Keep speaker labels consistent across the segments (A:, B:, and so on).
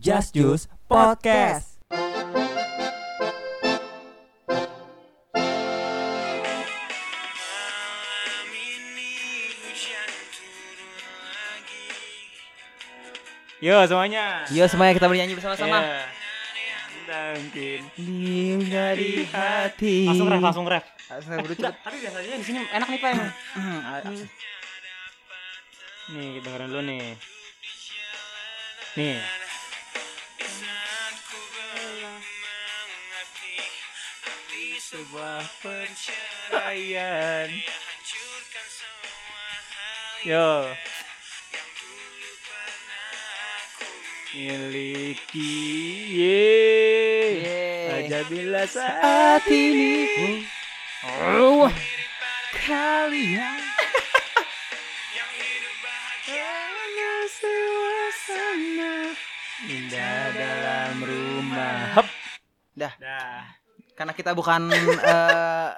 A: Just Juice Podcast.
B: Malam ini hujan turun lagi
C: Yo semuanya.
A: Yo semuanya kita bernyanyi bersama-sama.
C: Iya. Mungkin
A: Diem dari hati.
C: langsung ref langsung ref.
A: Langsung buru cepet.
C: Tapi biasanya di sini enak nih pak emang. nih kita dengerin dulu nih. Nih.
B: Saat ku belum mengerti Hati
C: Sebuah perceraian.
B: hancurkan semua hal
C: Yo.
B: yang dulu pernah aku
C: Miliki. Ye. Aja bila saat ini. Oh. Kalian.
B: Yang hidup bahagia
C: Karena suasana indah dalam rumah. Hep.
A: Dah.
C: Dah.
A: Karena kita bukan eh,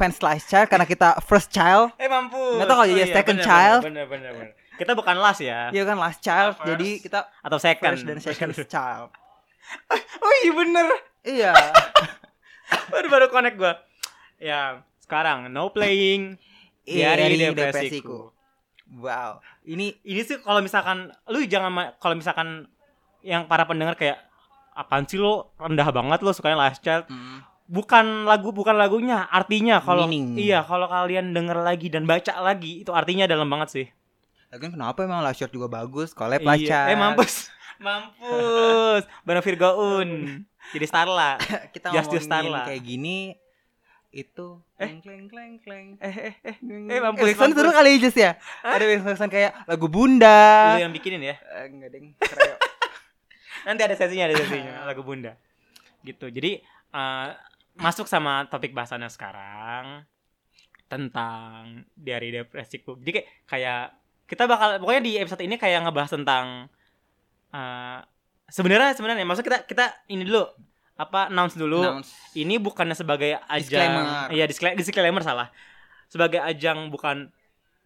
A: fans last child, karena kita first child.
C: Eh mampu.
A: Nggak tahu kalau jadi second child.
C: Bener bener bener. Kita bukan last ya
A: Iya kan last child,
C: First.
A: jadi kita
C: atau second.
A: first dan second child.
C: oh iya bener.
A: Iya.
C: Baru baru connect gua. Ya sekarang no playing di hari
A: Iri
C: depresiku.
A: Iya, Wow. Ini
C: Ini sih kalau misalkan lu jangan ma- kalau misalkan yang para pendengar kayak apaan sih lo rendah banget lo sukanya last child
A: mm,
C: bukan lagu bukan lagunya artinya kalau
A: Meaning.
C: iya kalau kalian denger lagi dan baca lagi itu artinya dalam banget sih
A: lagian kenapa emang last child juga bagus, collab last
C: Iya.
A: child.
C: eh mampus mampus bareng Virgoun jadi Starla
A: kita
C: Just Just
A: ngomongin
C: Starla.
A: kayak gini itu
C: Eh.
A: kleng kleng kleng kleng.
C: eh eh eh
A: Eh,
C: mampus,
A: Wilson
C: mampus.
A: seru kali ya, Jus ya? Ada Wilson kayak lagu Bunda.
C: lu yang bikinin ya
A: Eh, enggak deng, kreo.
C: nanti ada sesinya ada
A: Ah.
C: sesinya lagu bunda gitu jadi eh, masuk sama topik bahasannya sekarang tentang diari depresiku jadi kayak, kayak kita bakal pokoknya di episode ini kayak ngebahas tentang eh, sebenarnya sebenarnya maksud kita kita ini dulu apa announce dulu
A: Announce.
C: ini bukannya sebagai
A: Disclaimer.
C: ajang iya disclaimer, disclaimer salah sebagai ajang bukan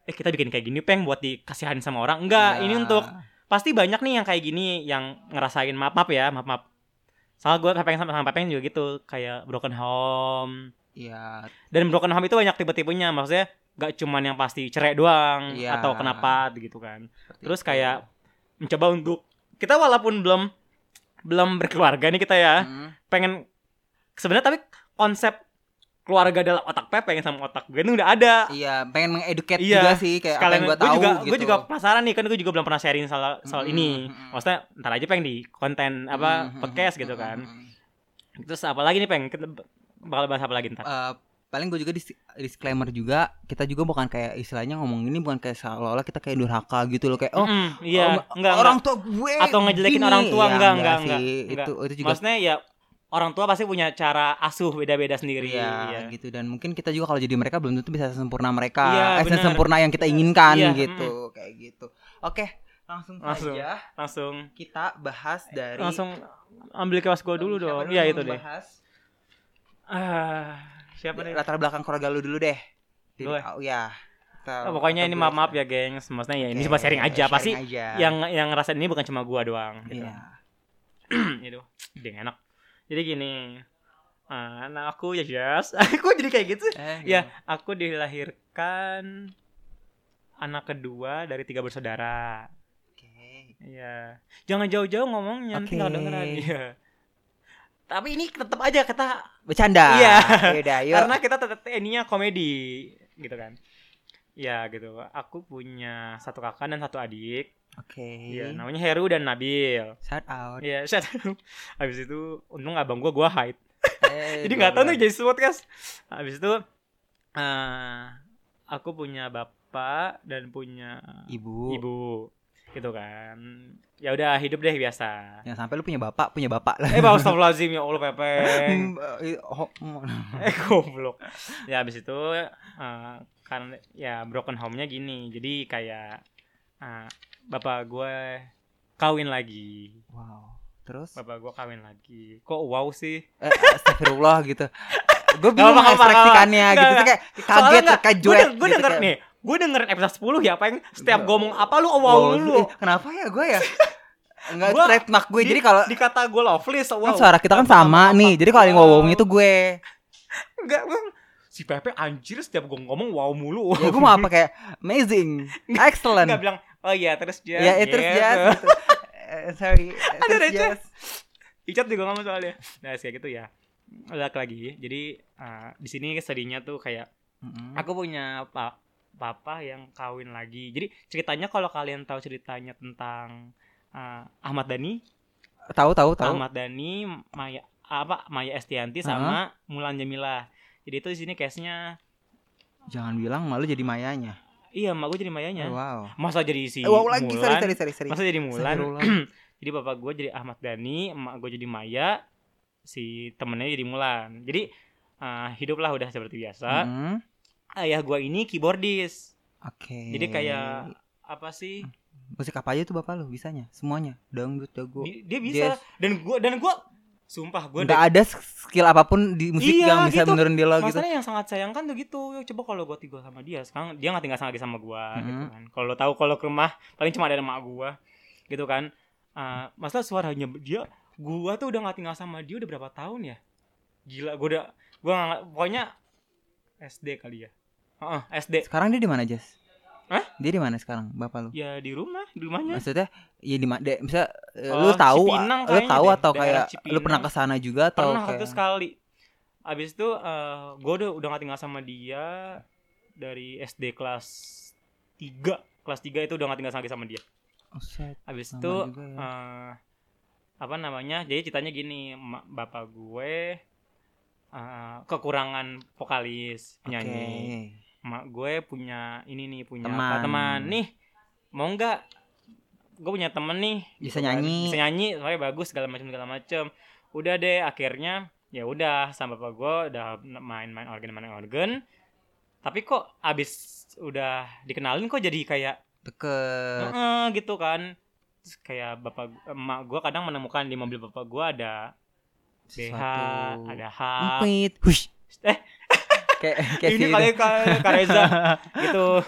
C: eh kita bikin kayak gini peng buat dikasihanin sama orang enggak ini
A: Nah,
C: untuk pasti banyak nih yang kayak gini yang ngerasain maaf maaf ya maaf maaf soal gue pepeng sama sama pepeng juga gitu kayak broken home
A: Iya,
C: dan broken home itu banyak tipe-tipenya maksudnya gak cuman yang pasti cerai doang
A: Iya.
C: atau kenapa gitu kan
A: seperti
C: terus
A: itu.
C: kayak mencoba untuk kita walaupun belum belum berkeluarga nih kita ya
A: Mm.
C: pengen sebenarnya tapi konsep keluarga dalam otak pepeng sama otak gue ini udah ada
A: Iya, pengen mengeduket
C: Iya,
A: juga sih kayak apa yang
C: sekalian
A: gua
C: gue
A: tahu
C: juga
A: gitu. Hmm,
C: gue juga penasaran nih kan gue juga belum pernah sharing soal soal
A: Mm-mm,
C: ini
A: mm-mm.
C: maksudnya ntar aja peng di konten apa
A: Mm,
C: podcast
A: mm,
C: gitu
A: mm,
C: kan
A: mm.
C: terus apa lagi nih peng Kita bakal bahas apa lagi ntar
A: Eh, paling gue juga dis- disclaimer juga kita juga bukan kayak istilahnya ngomong ini bukan kayak seolah-olah kita kayak durhaka gitu loh kayak oh
C: Mm-mm, iya
A: oh,
C: enggak
A: orang
C: orang
A: tua gue
C: Atau ngejelekin
A: begini.
C: orang tua,
A: Ya,
C: enggak, enggak,
A: sih.
C: enggak,
A: itu itu juga
C: maksudnya ya orang tua pasti punya cara asuh beda-beda sendiri
A: Iya,
C: iya.
A: gitu dan mungkin kita juga kalau jadi mereka belum tentu bisa sempurna mereka
C: Iya,
A: eh,
C: benar.
A: sempurna yang kita inginkan
C: Iya,
A: gitu kayak gitu oke langsung,
C: Langsung.
A: saja
C: langsung
A: kita bahas dari
C: langsung ambil kipas gue dulu
A: Siapa
C: dong iya
A: yang
C: itu deh
A: membahas?
C: ah siapa nih
A: latar belakang keluarga lu dulu deh Jadi-
C: Gue.
A: oh, ya Kita-
C: Oh, pokoknya ini
A: kita dulu.
C: maaf maaf ya gengs maksudnya ya ini
A: Oke,
C: cuma sharing aja
A: sharing
C: pasti
A: aja.
C: yang yang ngerasain ini bukan cuma gua doang gitu.
A: Iya.
C: gitu ding enak jadi gini ah, nah aku ya Jas aku jadi kayak gitu
A: Eh,
C: ya aku dilahirkan anak kedua dari tiga bersaudara
A: oke.
C: Iya jangan jauh-jauh ngomongnya nanti
A: Oke.
C: nggak dengeran Iya tapi ini tetap aja kita
A: bercanda
C: Iya.
A: Yaudah, yuk.
C: karena kita tetap ininya komedi gitu kan ya gitu aku punya satu kakak dan satu adik
A: oke
C: Iya namanya Heru dan Nabil
A: shout out
C: Iya, shut up. Habis itu untung abang gua gua hide.
A: Eh,
C: Jadi nggak tahu
A: dua-dua.
C: nih jadi podcast. Habis itu eh aku punya bapak dan punya
A: ibu
C: ibu. Gitu kan. Ya udah hidup deh biasa.
A: yang sampai lu punya bapak punya bapak lah
C: Eh, bau lazim ya Allah Pepeng.
A: Hmm, eh, oh, mm.
C: eh, goblok. Ya habis itu eh karena ya broken home-nya gini. Jadi kayak eh, bapak gue kawin lagi.
A: wow terus
C: Bapak gue kawin lagi. Kok wow sih?
A: eh, astagfirullah gitu gue
C: Gak
A: bingung
C: apa-apa, gak apa-apa,
A: ekspresikannya
C: gak apa-apa. Gak,
A: gitu Terus kayak
C: Soalnya
A: kaget
C: nggak, Gue
A: terkejut gitu,
C: denger
A: kayak,
C: nih, gue dengerin episode 10 ya, apa yang setiap gue ngomong apa lu wow,
A: wow,
C: lu.
A: eh, kenapa ya gue ya Enggak
C: Gua-
A: trademark gue.
C: Di-
A: Jadi kalau
C: dikata gue loveless, wow.
A: kan suara kita kan sama nih. Jadi kalau yang ngomongnya itu gue.
C: Enggak, Bang. Si Pepe anjir setiap gue ngomong wow mulu.
A: Ya gue mau apa kayak amazing, excellent.
C: Enggak bilang, "Oh iya, terus just."
A: Ya itu
C: gitu.
A: yes. gitu. Eh, sorry. it
C: Aduh,
A: is
C: receh.
A: just.
C: Icat juga ngomong soalnya. Nah, kayak gitu ya. Ulang lagi. Jadi eh, di sini sedihnya tuh kayak
A: Mm-mm.
C: aku punya pa- papa yang kawin lagi. Jadi ceritanya kalau kalian tahu ceritanya tentang eh, Ahmad Dhani,
A: tahu tahu tahu.
C: Ahmad Dhani, Maya apa Maya Estianti sama Mulan Jamila. Jadi itu di sini case-nya
A: Jangan bilang malu jadi mayanya.
C: iya, mak gue jadi Mayanya.
A: Wow.
C: Masa jadi si
A: Eh, wow lagi
C: Mulan?
A: sorry sorry sorry sorry.
C: Masa jadi Mulan?
A: Astagfirullah.
C: jadi bapak gue jadi Ahmad Dhani, emak gue jadi Maya, si temennya jadi Mulan. Jadi eh, hiduplah udah seperti biasa.
A: Mm-mm.
C: Ayah gue ini keyboardis.
A: Mm-hmm. Oke.
C: Jadi kayak apa sih?
A: musik apa aja tuh bapak lu bisanya? Semuanya. Dangdut jago.
C: Di- Dia, bisa dan gue dan gue sumpah gue
A: Enggak ada skill apapun di musik
C: Iya,
A: yang bisa
C: gitu.
A: menurun dia lo gitu.
C: Masalahnya yang sangat sayangkan tuh gitu. Yo, coba kalau gue tinggal sama dia sekarang dia nggak tinggal sama- lagi sama gue gitu
A: Mhm.
C: kan. Kalau lo tahu kalau ke rumah paling cuma ada emak gue gitu kan. Eh, masalah suaranya dia gue tuh udah nggak tinggal sama dia udah berapa tahun ya? Gila gue udah gue nggak pokoknya SD kali ya. Heeh, SD.
A: Sekarang dia di mana, Jas?
C: Hah?
A: Dia di mana sekarang, bapak lu?
C: Ya di rumah, di rumahnya.
A: Maksudnya ya di mana? Misalnya eh,
C: Oh,
A: lu tahu,
C: Cipinang
A: lu
C: kayaknya
A: tahu
C: deh,
A: atau
C: daerah
A: kayak lu
C: Cipinang.
A: pernah ke sana juga atau
C: pernah satu
A: kayak
C: sekali abis itu gue udah udah gak tinggal sama dia dari SD kelas 3 kelas 3 itu udah gak tinggal lagi sama dia
A: Oh, set,
C: abis
A: lama
C: itu
A: juga ya.
C: eh, apa namanya jadi ceritanya gini emak- bapak gue eh, kekurangan vokalis penyanyi
A: Oke.
C: emak gue punya ini nih punya
A: Teman.
C: apa, teman nih mau nggak gue punya temen nih
A: Bisa
C: kan.
A: nyanyi.
C: bisa nyanyi soalnya bagus segala macam segala macam udah deh akhirnya ya udah sama bapak gue udah main-main organ main organ tapi kok abis udah dikenalin kok jadi kayak
A: Deket.
C: "Heeh," gitu kan Terus kayak bapak gu- emak gue kadang menemukan di mobil bapak gue ada BH
A: sesuatu.
C: ada H
A: Empit. Hush.
C: Eh.
A: kayak kayak
C: ini
A: gitu. si-
C: kali kayak Kareza gitu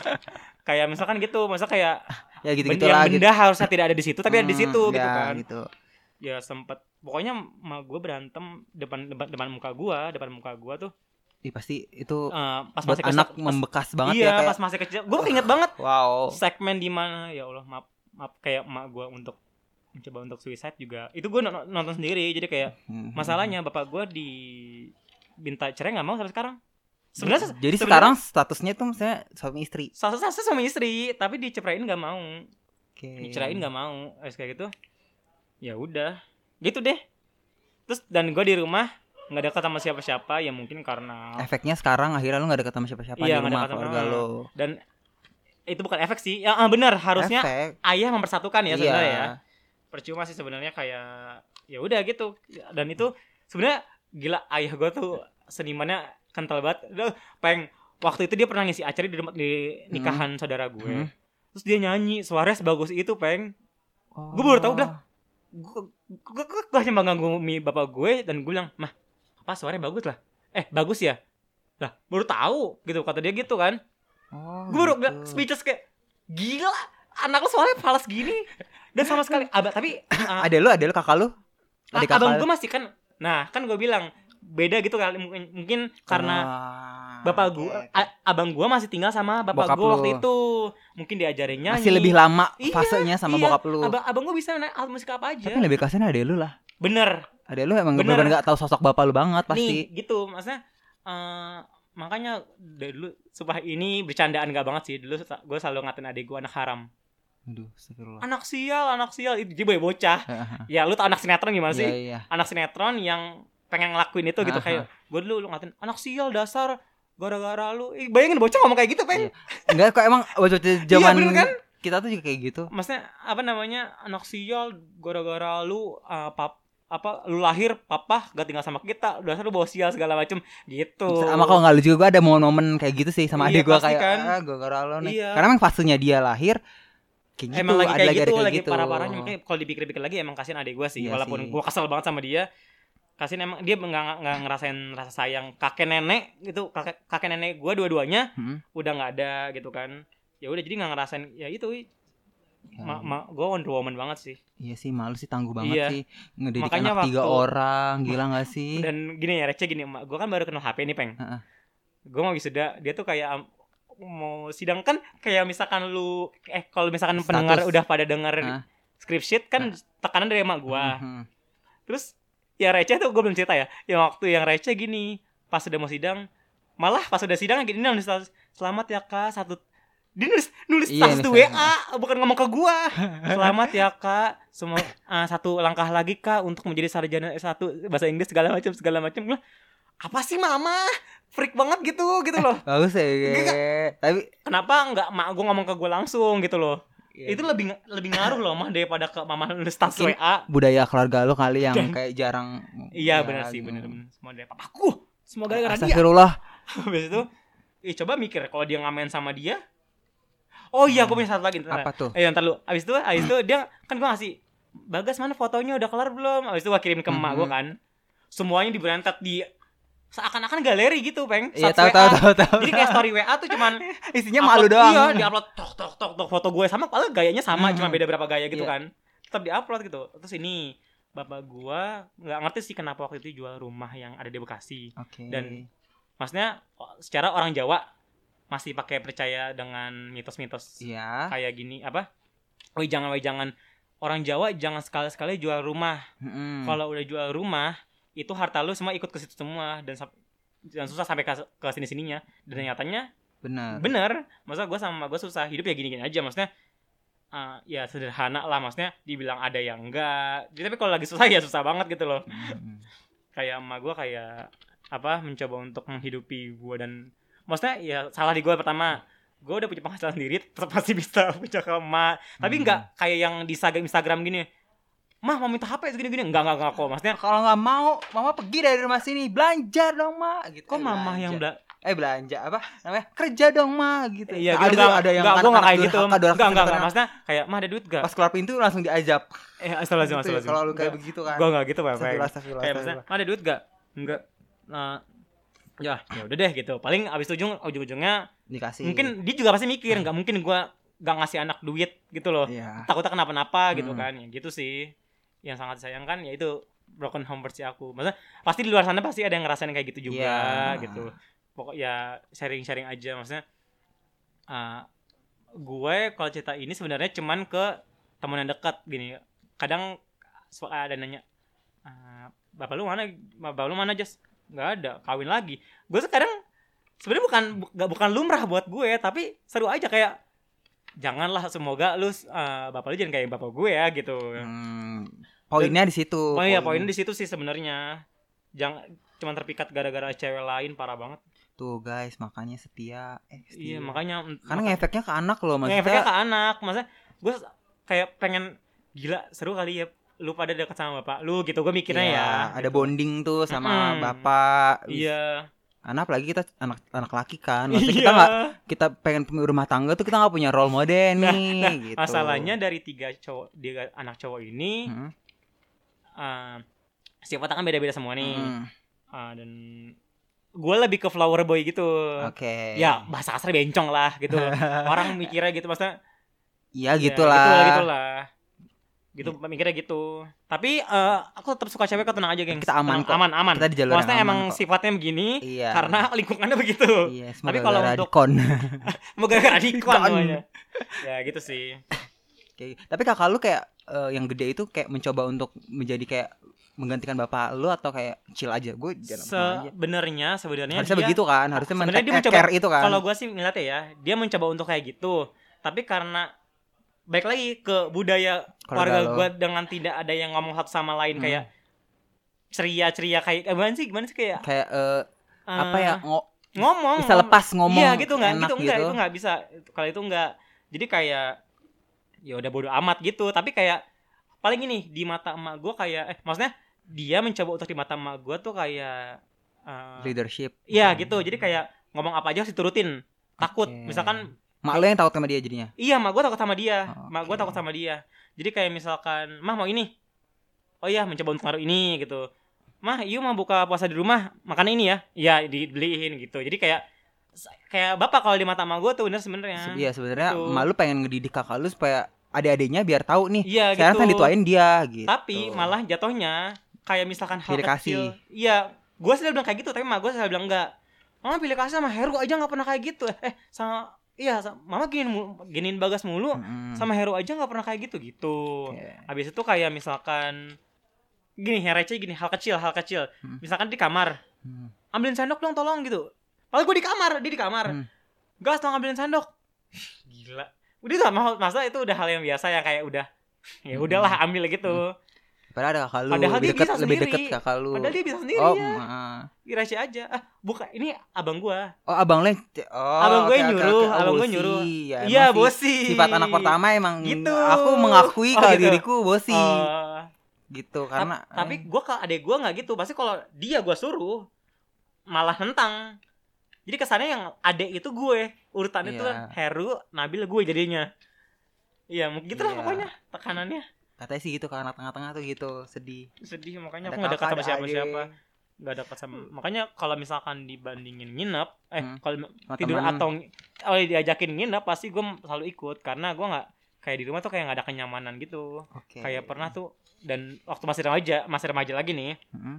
C: kayak misalkan gitu masa kayak
A: ya gitu
C: benda
A: gitulah
C: yang
A: gitu.
C: benda harusnya tidak ada di situ tapi ada di
A: Hmm,
C: situ gitu
A: ya,
C: kan
A: gitu.
C: ya sempet pokoknya ma gue berantem depan depan, depan muka gue depan muka gue tuh
A: Ih, pasti itu
C: eh, pas
A: buat
C: masih
A: anak
C: kecil pas-
A: membekas banget
C: iya
A: ya kayak. Oh.
C: pas masih kecil gue inget banget
A: Wow.
C: segmen di mana ya Allah maaf maaf kayak emak gue untuk mencoba untuk suicide juga itu gue no- nonton sendiri jadi kayak
A: Hmm.
C: masalahnya bapak gue di minta cerai nggak mau sampai sekarang sebenarnya
A: jadi
C: sebenarnya-
A: sekarang statusnya tuh misalnya suami istri.
C: sasa sasa sama istri tapi dicerain nggak mau
A: Oke.
C: dicerain nggak mau Terus kayak gitu ya udah gitu deh terus dan gue di rumah nggak dekat sama siapa-siapa ya mungkin karena
A: Efeknya sekarang akhirnya lu gak deket sama siapa-siapa
C: Iya, nggak
A: di rumah
C: deket sama
A: keluarga
C: orang.
A: lo.
C: dan itu bukan efek sih ya ah, benar harusnya
A: Efek.
C: ayah mempersatukan ya
A: Iya.
C: sebenarnya ya percuma sih sebenarnya kayak ya udah gitu dan itu sebenarnya gila ayah gue tuh senimannya kental banget Aduh, peng waktu itu dia pernah ngisi acara di, rumah- di nikahan saudara gue
A: Hmm.
C: terus dia nyanyi suaranya sebagus itu peng Gua baru tahu,
A: Oh.
C: Blah. gue gue gue hanya mengganggu mi bapak gue dan gue bilang mah apa suaranya bagus lah eh bagus ya lah baru tahu gitu kata dia gitu kan
A: Oh,
C: gue baru
A: gitu.
C: bilang speechless kayak gila anak lu suaranya falas gini dan sama sekali abah tapi uh,
A: Ada Ah, lu, ada lu kakak lu? Ada kakak.
C: abang gue masih kan nah kan gue bilang beda gitu kali mungkin, mungkin karena
A: Ah,
C: bapak
A: oke,
C: gue
A: oke.
C: a- abang gue masih tinggal sama bapak
A: Bokap
C: gue waktu
A: lu.
C: itu mungkin diajarin nyanyi
A: masih lebih lama
C: Iya,
A: fasenya sama
C: iya,
A: bokap lu.
C: abang abang gue bisa main alat musik apa aja
A: Tapi yang lebih kasarnya ada lu lah.
C: bener
A: Ada lu emang
C: Bener.
A: bener-bener gak tahu sosok bapak lu banget pasti.
C: nih gitu maksudnya eh, makanya dari dulu sumpah ini bercandaan gak banget sih dulu gue selalu ngatain adik gue anak haram
A: Aduh, astagfirullah.
C: anak sial anak sial itu dia boy bocah ya
A: Heeh.
C: lu tau anak sinetron gimana sih
A: Iya, iya.
C: anak sinetron yang pengen ngelakuin itu gitu
A: Aha.
C: kayak gue dulu lu ngatain anak sial dasar gara-gara lu Ih, bayangin bocah ngomong kayak gitu peng
A: Iya. Enggak kok emang waktu zaman
C: bener kan?
A: kita tuh juga kayak gitu.
C: maksudnya apa namanya anak sial gara-gara lu eh, pap apa lu lahir papa gak tinggal sama kita dasar lu bawa sial segala macem gitu
A: Sama kalau nggak lu juga gue ada momen-momen kayak gitu sih sama
C: Iya,
A: adik gue
C: pasti
A: kayak
C: kan.
A: ah, gue gara lo nih.
C: Iya.
A: Karena emang fasenya dia lahir kayak gitu,
C: emang lagi
A: ada
C: kayak
A: lagi ada
C: gitu
A: kayak
C: lagi
A: gitu.
C: parah-parahnya makanya kalau dipikir-pikir lagi emang kasihan adik gue sih
A: Iya
C: walaupun
A: sih.
C: gue kesel banget sama dia kasihan emang dia nggak nggak ngerasain rasa sayang kakek nenek gitu kakek kakek nenek gue dua-duanya
A: Hmm.
C: udah nggak ada gitu kan ya udah jadi nggak ngerasain ya itu ma,
A: Hmm.
C: ma, gue Wonder Woman banget sih
A: Iya sih, malu sih tangguh banget
C: Iya.
A: sih ngedidik
C: Makanya
A: anak tiga
C: waktu-
A: orang, gila gak sih?
C: dan gini ya receh gini gue kan baru kenal HP nih peng
A: Heeh.
C: gue mau wisuda dia tuh kayak am- mau sidang kan kayak misalkan lu eh kalau misalkan
A: Status.
C: pendengar udah pada denger
A: Heeh. Nah.
C: script sheet kan tekanan dari emak gue
A: Mhm.
C: terus yang receh tuh gue belum cerita ya yang waktu yang receh gini pas udah mau sidang malah pas udah sidang gini dia nulis status selamat ya kak satu dia nulis nulis
A: Iya,
C: status
A: nulis
C: tuh
A: status.
C: WA bukan ngomong ke gua selamat ya kak semua ah, satu langkah lagi kak untuk menjadi sarjana S1 bahasa Inggris segala macam segala macam lah apa sih mama freak banget gitu gitu loh
A: Bagus ya, tapi
C: kenapa nggak mak gua ngomong ke gua langsung gitu loh itu lebih lebih ngaruh loh mah daripada ke mama nulis status
A: Iya, Mungkin-
C: WA
A: budaya keluarga lo kali yang
C: Dan-
A: kayak jarang.
C: Iya
A: ya,
C: benar sih
A: gitu.
C: benar-benar semua dari papaku. Semua gara-gara dia.
A: Astagfirullah.
C: Habis itu ih coba mikir kalau dia ngamen sama dia. Oh iya aku punya satu lagi ntar.
A: Apa tuh?
C: Eh ntar lu. Habis itu habis itu dia kan gua ngasih Bagas mana fotonya udah kelar belum? Habis itu gua kirim ke emak gua
A: Mm-hmm.
C: kan. Semuanya diberantet di seakan-akan galeri gitu, Peng.
A: Iya,
C: Status
A: tahu tahu
C: WA.
A: tahu tahu.
C: Jadi kayak story WA tuh cuman
A: Isinya
C: upload-
A: malu doang.
C: Iya, diupload tok tok tok tok foto gue sama padahal gayanya sama,
A: Mhm.
C: cuma beda berapa gaya gitu
A: Iya.
C: kan. Tetap diupload gitu. Terus ini bapak gua nggak ngerti sih kenapa waktu itu jual rumah yang ada di Bekasi.
A: Oke.
C: Dan- Maksudnya o- secara orang Jawa masih pakai percaya dengan mitos-mitos
A: iya.
C: kayak gini apa? Woi jangan, woi jangan. Orang Jawa jangan sekali-sekali jual rumah.
A: Mm-mm.
C: Kalau udah jual rumah, itu harta lu semua ikut ke situ semua dan sam- dan susah sampai ke, ke sini-sininya. Dan
A: Hmm.
C: nyatanya
A: benar.
C: bener masa gue sama gue susah hidup ya gini-gini aja maksudnya eh, ya sederhana lah maksudnya dibilang ada yang enggak Jadi, tapi kalau lagi susah ya susah banget gitu loh
A: Mm-mm.
C: kayak emak gue kayak apa mencoba untuk menghidupi gue dan maksudnya ya salah di gue pertama gue udah punya penghasilan sendiri tetap pasti bisa punya ke emak tapi
A: Hmm.
C: enggak kayak yang di Instagram Instagram gini mah mau minta HP segini-gini enggak enggak enggak kok maksudnya
A: Kalau nggak mau, mama pergi dari rumah sini belanja dong ma. Gitu.
C: kok
A: Eh,
C: mama yang
A: belanja.
C: bela
A: eh belanja apa namanya kerja dong ma gitu.
C: Iya,
A: Nah,
C: gitu,
A: tuh,
C: enggak,
A: ada yang
C: enggak, gue enggak kayak gitu.
A: durhaka,
C: Enggak,
A: durhaka,
C: enggak, enggak.
A: sebenarnya.
C: Maksudnya kayak, mah ada duit enggak?
A: Pas keluar pintu langsung diajak.
C: Eh, astagfirullahaladzim,
A: Gitu ya,
C: astagfirullahaladzim.
A: Kalau lu kayak begitu kan.
C: Gue enggak gitu, Pak.
A: Astagfirullah, astagfirullah,
C: kayak maksudnya
A: astagfirullah.
C: ada duit gak enggak nah ya ya udah deh gitu paling abis ujung ujung ujungnya
A: Dikasih.
C: mungkin dia juga pasti mikir nggak mungkin gua gak ngasih anak duit gitu loh
A: Hmm. Iya.
C: takutnya kenapa-napa gitu
A: Hmm.
C: kan ya gitu sih yang sangat disayangkan ya itu broken home versi aku maksudnya pasti di luar sana pasti ada yang ngerasain kayak gitu juga
A: Iya.
C: gitu pokok ya sharing-sharing aja maksudnya eh, gue kalau cerita ini sebenarnya cuman ke teman yang dekat gini kadang suka ada nanya "Eh, bapak lu mana bapak lu mana Jas nggak ada kawin lagi gue sekarang sebenarnya bukan bu- nggak- bukan lumrah buat gue tapi seru aja kayak janganlah semoga lu eh, bapak lu jangan kayak bapak gue ya gitu
A: Hmm, poinnya di situ.
C: oh iya poinnya di situ sih sebenarnya jangan cuman terpikat gara-gara cewek lain parah banget
A: Tuh guys, makanya setia. Eh,
C: iya
A: setia.
C: makanya
A: Karena ngefeknya ke anak loh maksudnya.
C: ngefeknya ke anak maksudnya gue kayak pengen gila seru kali ya lu pada dekat sama bapak lu gitu gue mikirnya
A: Iya,
C: ya
A: Ada bonding tuh sama
C: Mm-mm.
A: bapak.
C: iya
A: Anak apalagi kita anak anak laki kan. Maksudnya kita
C: iya
A: nggak kita pengen punya rumah tangga tuh kita nggak punya role model nih. gitu.
C: Nah, masalahnya dari tiga cowok tiga anak cowok ini
A: Hmm,
C: eh, sifat kan beda-beda semua nih
A: hmm,
C: Eh, dan gue lebih ke flower boy gitu
A: Oke.
C: ya bahasa kasar bencong lah gitu orang mikirnya gitu maksudnya ya,
A: Iya gitulah. Iya.
C: gitu lah gitu mikirnya gitu tapi eh, aku tetap suka cewek kok tenang aja geng
A: Kita
C: Tenang,
A: aman kok.
C: aman aman
A: Kita di jalur
C: maksudnya
A: yang aman
C: emang
A: kok.
C: sifatnya begini
A: Iya.
C: karena lingkungannya begitu
A: Iya, semoga
C: kalau
A: gara-gara
C: untuk-
A: dikon.
C: mau gara-gara dikwan
A: Dikwan.
C: semuanya ya gitu sih
A: Kayak- gitu. tapi kakak lu kayak eh, yang gede itu kayak mencoba untuk menjadi kayak menggantikan bapak lu atau kayak chill aja. Gue jalan kemana aja.
C: sebenarnya sebenarnya
A: Harusnya
C: dia-
A: begitu kan, harusnya men
C: Sebenarnya dia mencoba-
A: care itu kan.
C: kalau gue sih ngeliatnya ya dia mencoba untuk kayak gitu tapi karena baik lagi ke budaya
A: Keluarga
C: keluarga
A: lo.
C: gue dengan tidak ada yang ngomong satu sama lain
A: Hmm.
C: kayak ceria ceria kayak eh, gimana sih gimana sih kayak
A: kayak
C: eh,
A: eh, apa ya ngo-
C: ngomong
A: bisa lepas ngomong
C: iya gitu nggak
A: enak
C: gitu enggak itu nggak bisa kalau itu nggak jadi kayak ya udah bodo amat gitu tapi kayak paling ini di mata emak gue kayak eh maksudnya dia mencoba untuk di mata emak gue tuh kayak eh,
A: leadership kan.
C: Iya gitu. Jadi kayak ngomong apa aja harus diturutin. Takut.
A: Oke.
C: Misalkan
A: mak lo yang takut sama dia jadinya
C: iya mak gue takut sama dia.
A: Ah, Oke.
C: Mak gue takut sama dia. Jadi kayak misalkan mah mau ini. Oh iya mencoba untuk ngaruh ini gitu. Mah iya mau buka puasa di rumah makan ini ya. Iya dibeliin gitu. Jadi kayak kayak bapak kalau di mata emak gue tuh bener sebenarnya.
A: Se- iya
C: ya.
A: sebenarnya
C: Gitu.
A: mak lu pengen ngedidik kakak lu supaya adik-adiknya biar tahu nih
C: Iya
A: sekarang kan
C: gitu.
A: dituain dia gitu
C: Tapi malah jatuhnya kayak misalkan hal
A: Pilih
C: kecil.
A: kasih.
C: Iya, gue selalu bilang kayak gitu, tapi mama gue selalu bilang enggak. Mama pilih kasih sama Heru aja nggak pernah kayak gitu. Eh, sama iya, sama- mama giniin mulu- giniin Bagas mulu,
A: Mm-mm.
C: sama Heru aja nggak pernah kayak gitu gitu.
A: Iya.
C: Habis itu kayak misalkan gini, yang receh gini, hal kecil, hal kecil.
A: Hmm.
C: Misalkan di kamar,
A: Hmm.
C: ambilin sendok dong tolong gitu. Padahal gue di kamar, dia di kamar.
A: Hmm.
C: Gas tolong ambilin sendok. Gila. Udah tuh ma- masa itu udah hal yang biasa ya kayak udah ya
A: Hmm.
C: udahlah ambil gitu.
A: padahal ada kakak lu
C: Padahal
A: lebih
C: dia
A: deket
C: bisa
A: lebih
C: sendiri.
A: deket kakak lu
C: Padahal dia bisa sendiri
A: oh,
C: ya.
A: mm,
C: Irace aja. Ah, bukan ini abang gua.
A: oh abang lu yang- oh,
C: Abang gue
A: oke, oke,
C: nyuruh,
A: oke. Oh,
C: abang gue
A: bosi.
C: nyuruh.
A: Ya, emang
C: Iya,
A: sih.
C: bosi.
A: sifat anak pertama emang
C: Gitu.
A: aku mengakui
C: Oh,
A: kalau
C: gitu.
A: diriku bosi
C: Eh,
A: gitu karena
C: tapi gua ke adek gua nggak gitu. Pasti kalau dia gua suruh malah nentang. Jadi kesannya yang adek itu gue, urutannya
A: Iya.
C: tuh Heru, Nabil gue jadinya. Iya, mungkin gitu lah
A: Iya.
C: pokoknya tekanannya.
A: katanya sih gitu karena tengah-tengah tuh gitu sedih
C: Sedih makanya
A: Ada
C: aku nggak dekat
A: kakak,
C: sama
A: ada
C: siapa-siapa.
A: adik,
C: Nggak dekat sama. Makanya kalau misalkan dibandingin nginep, eh
A: Hmm.
C: kalau
A: sama
C: tidur
A: temen.
C: atau kalau diajakin nginep pasti gue selalu ikut karena gue nggak kayak di rumah tuh kayak nggak ada kenyamanan gitu
A: Oke.
C: kayak pernah tuh dan waktu masih remaja masih remaja lagi nih
A: Mm-mm.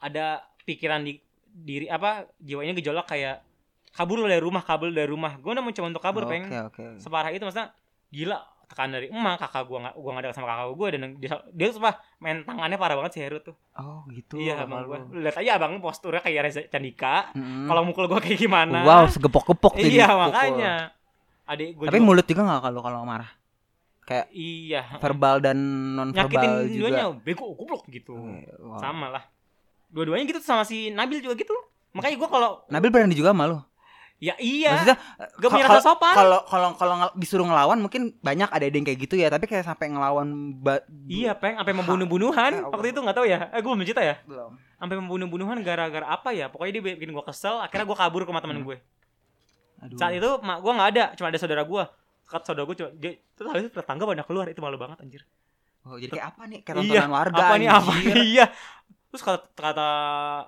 C: ada pikiran di diri apa jiwanya gejolak kayak kabur lu dari rumah kabur lu dari rumah gue udah mencoba untuk kabur
A: Oke,
C: peng
A: Oh, oke.
C: separah itu maksudnya gila tekanan dari emak kakak gue nggak gue nggak ada sama kakak gue dan dia dia tuh sumpah main tangannya parah banget si Heru tuh
A: oh gitu
C: iya
A: kakak
C: abang gue
A: lu.
C: lihat aja abang posturnya kayak Reza Candika
A: Mm-mm.
C: kalau mukul gue kayak gimana
A: Hmm. wow segepok-gepok tuh
C: iya
A: dipukul.
C: makanya adik gue
A: tapi mulut juga nggak kalau kalau marah
C: iya
A: verbal dan non
C: nyakitin
A: verbal juga Hmm,
C: duanya bego goblok gitu
A: Oke, wow.
C: sama lah dua-duanya gitu sama si Nabil juga gitu makanya gue kalau
A: Nabil berani juga malu.
C: ya iya
A: Maksudnya
C: gak punya
A: kalau-
C: rasa sopan
A: kalau kalau kalau ngel- disuruh ngelawan mungkin banyak ada yang kayak gitu ya, tapi kayak sampai ngelawan ba-
C: iya peng sampai membunuh-bunuhan
A: Ya Allah.
C: waktu itu nggak tahu ya eh gue belum cerita ya
A: belum.
C: sampai membunuh-bunuhan gara-gara apa ya pokoknya dia bikin gue kesel akhirnya gue kabur ke rumah teman
A: Hmm.
C: gue
A: Aduh.
C: saat itu mak gue nggak ada cuma ada saudara gue Kakak saudara gue cuma dia terus habis itu tetangga pada keluar itu malu banget anjir
A: Oh, jadi kayak apa nih? Kayak
C: Iya,
A: tontonan warga.
C: apa nih apa
A: anjir.
C: nih? iya terus kata, kata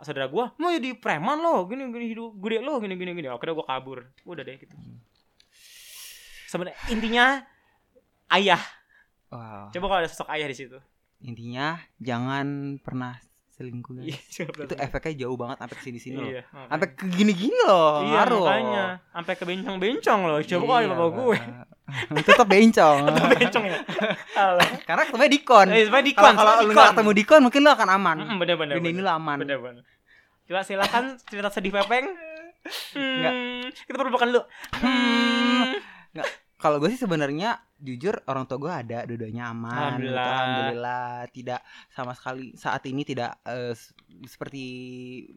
C: saudara gua mau jadi preman lo gini gini hidup gede lo gini gini gini akhirnya gua kabur udah deh gitu
A: Hmm.
C: sebenarnya intinya ayah
A: Wow.
C: coba kalau ada sosok ayah di situ
A: Intinya jangan pernah selingkuh. guys.
C: Iya, coba.
A: Nah, Itu efeknya jauh banget sampai ke sini-sini loh.
C: iya
A: Sampai ke gini-gini loh,
C: iya
A: ngaruh.
C: makanya sampai ke bencong-bencong loh coba kalau ada
A: Iya,
C: bapak gue
A: Bapak. Tetap bencong.
C: Tetap bencong ya Alah.
A: Karena ketemunya dikon.
C: eh sebenarnya dikon
A: Kalau kalau lu nggak ketemu dikon mungkin lu akan aman.
C: bener bener
A: Dunia ini lu aman.
C: bener bener coba silakan cerita sedih pepeng hmm,
A: Nggak.
C: kita perlu makan dulu hmm.
A: kalau gue sih sebenarnya jujur orang tua gue ada dua-duanya aman gitu.
C: Alhamdulillah.
A: alhamdulillah tidak sama sekali saat ini tidak eh, s- seperti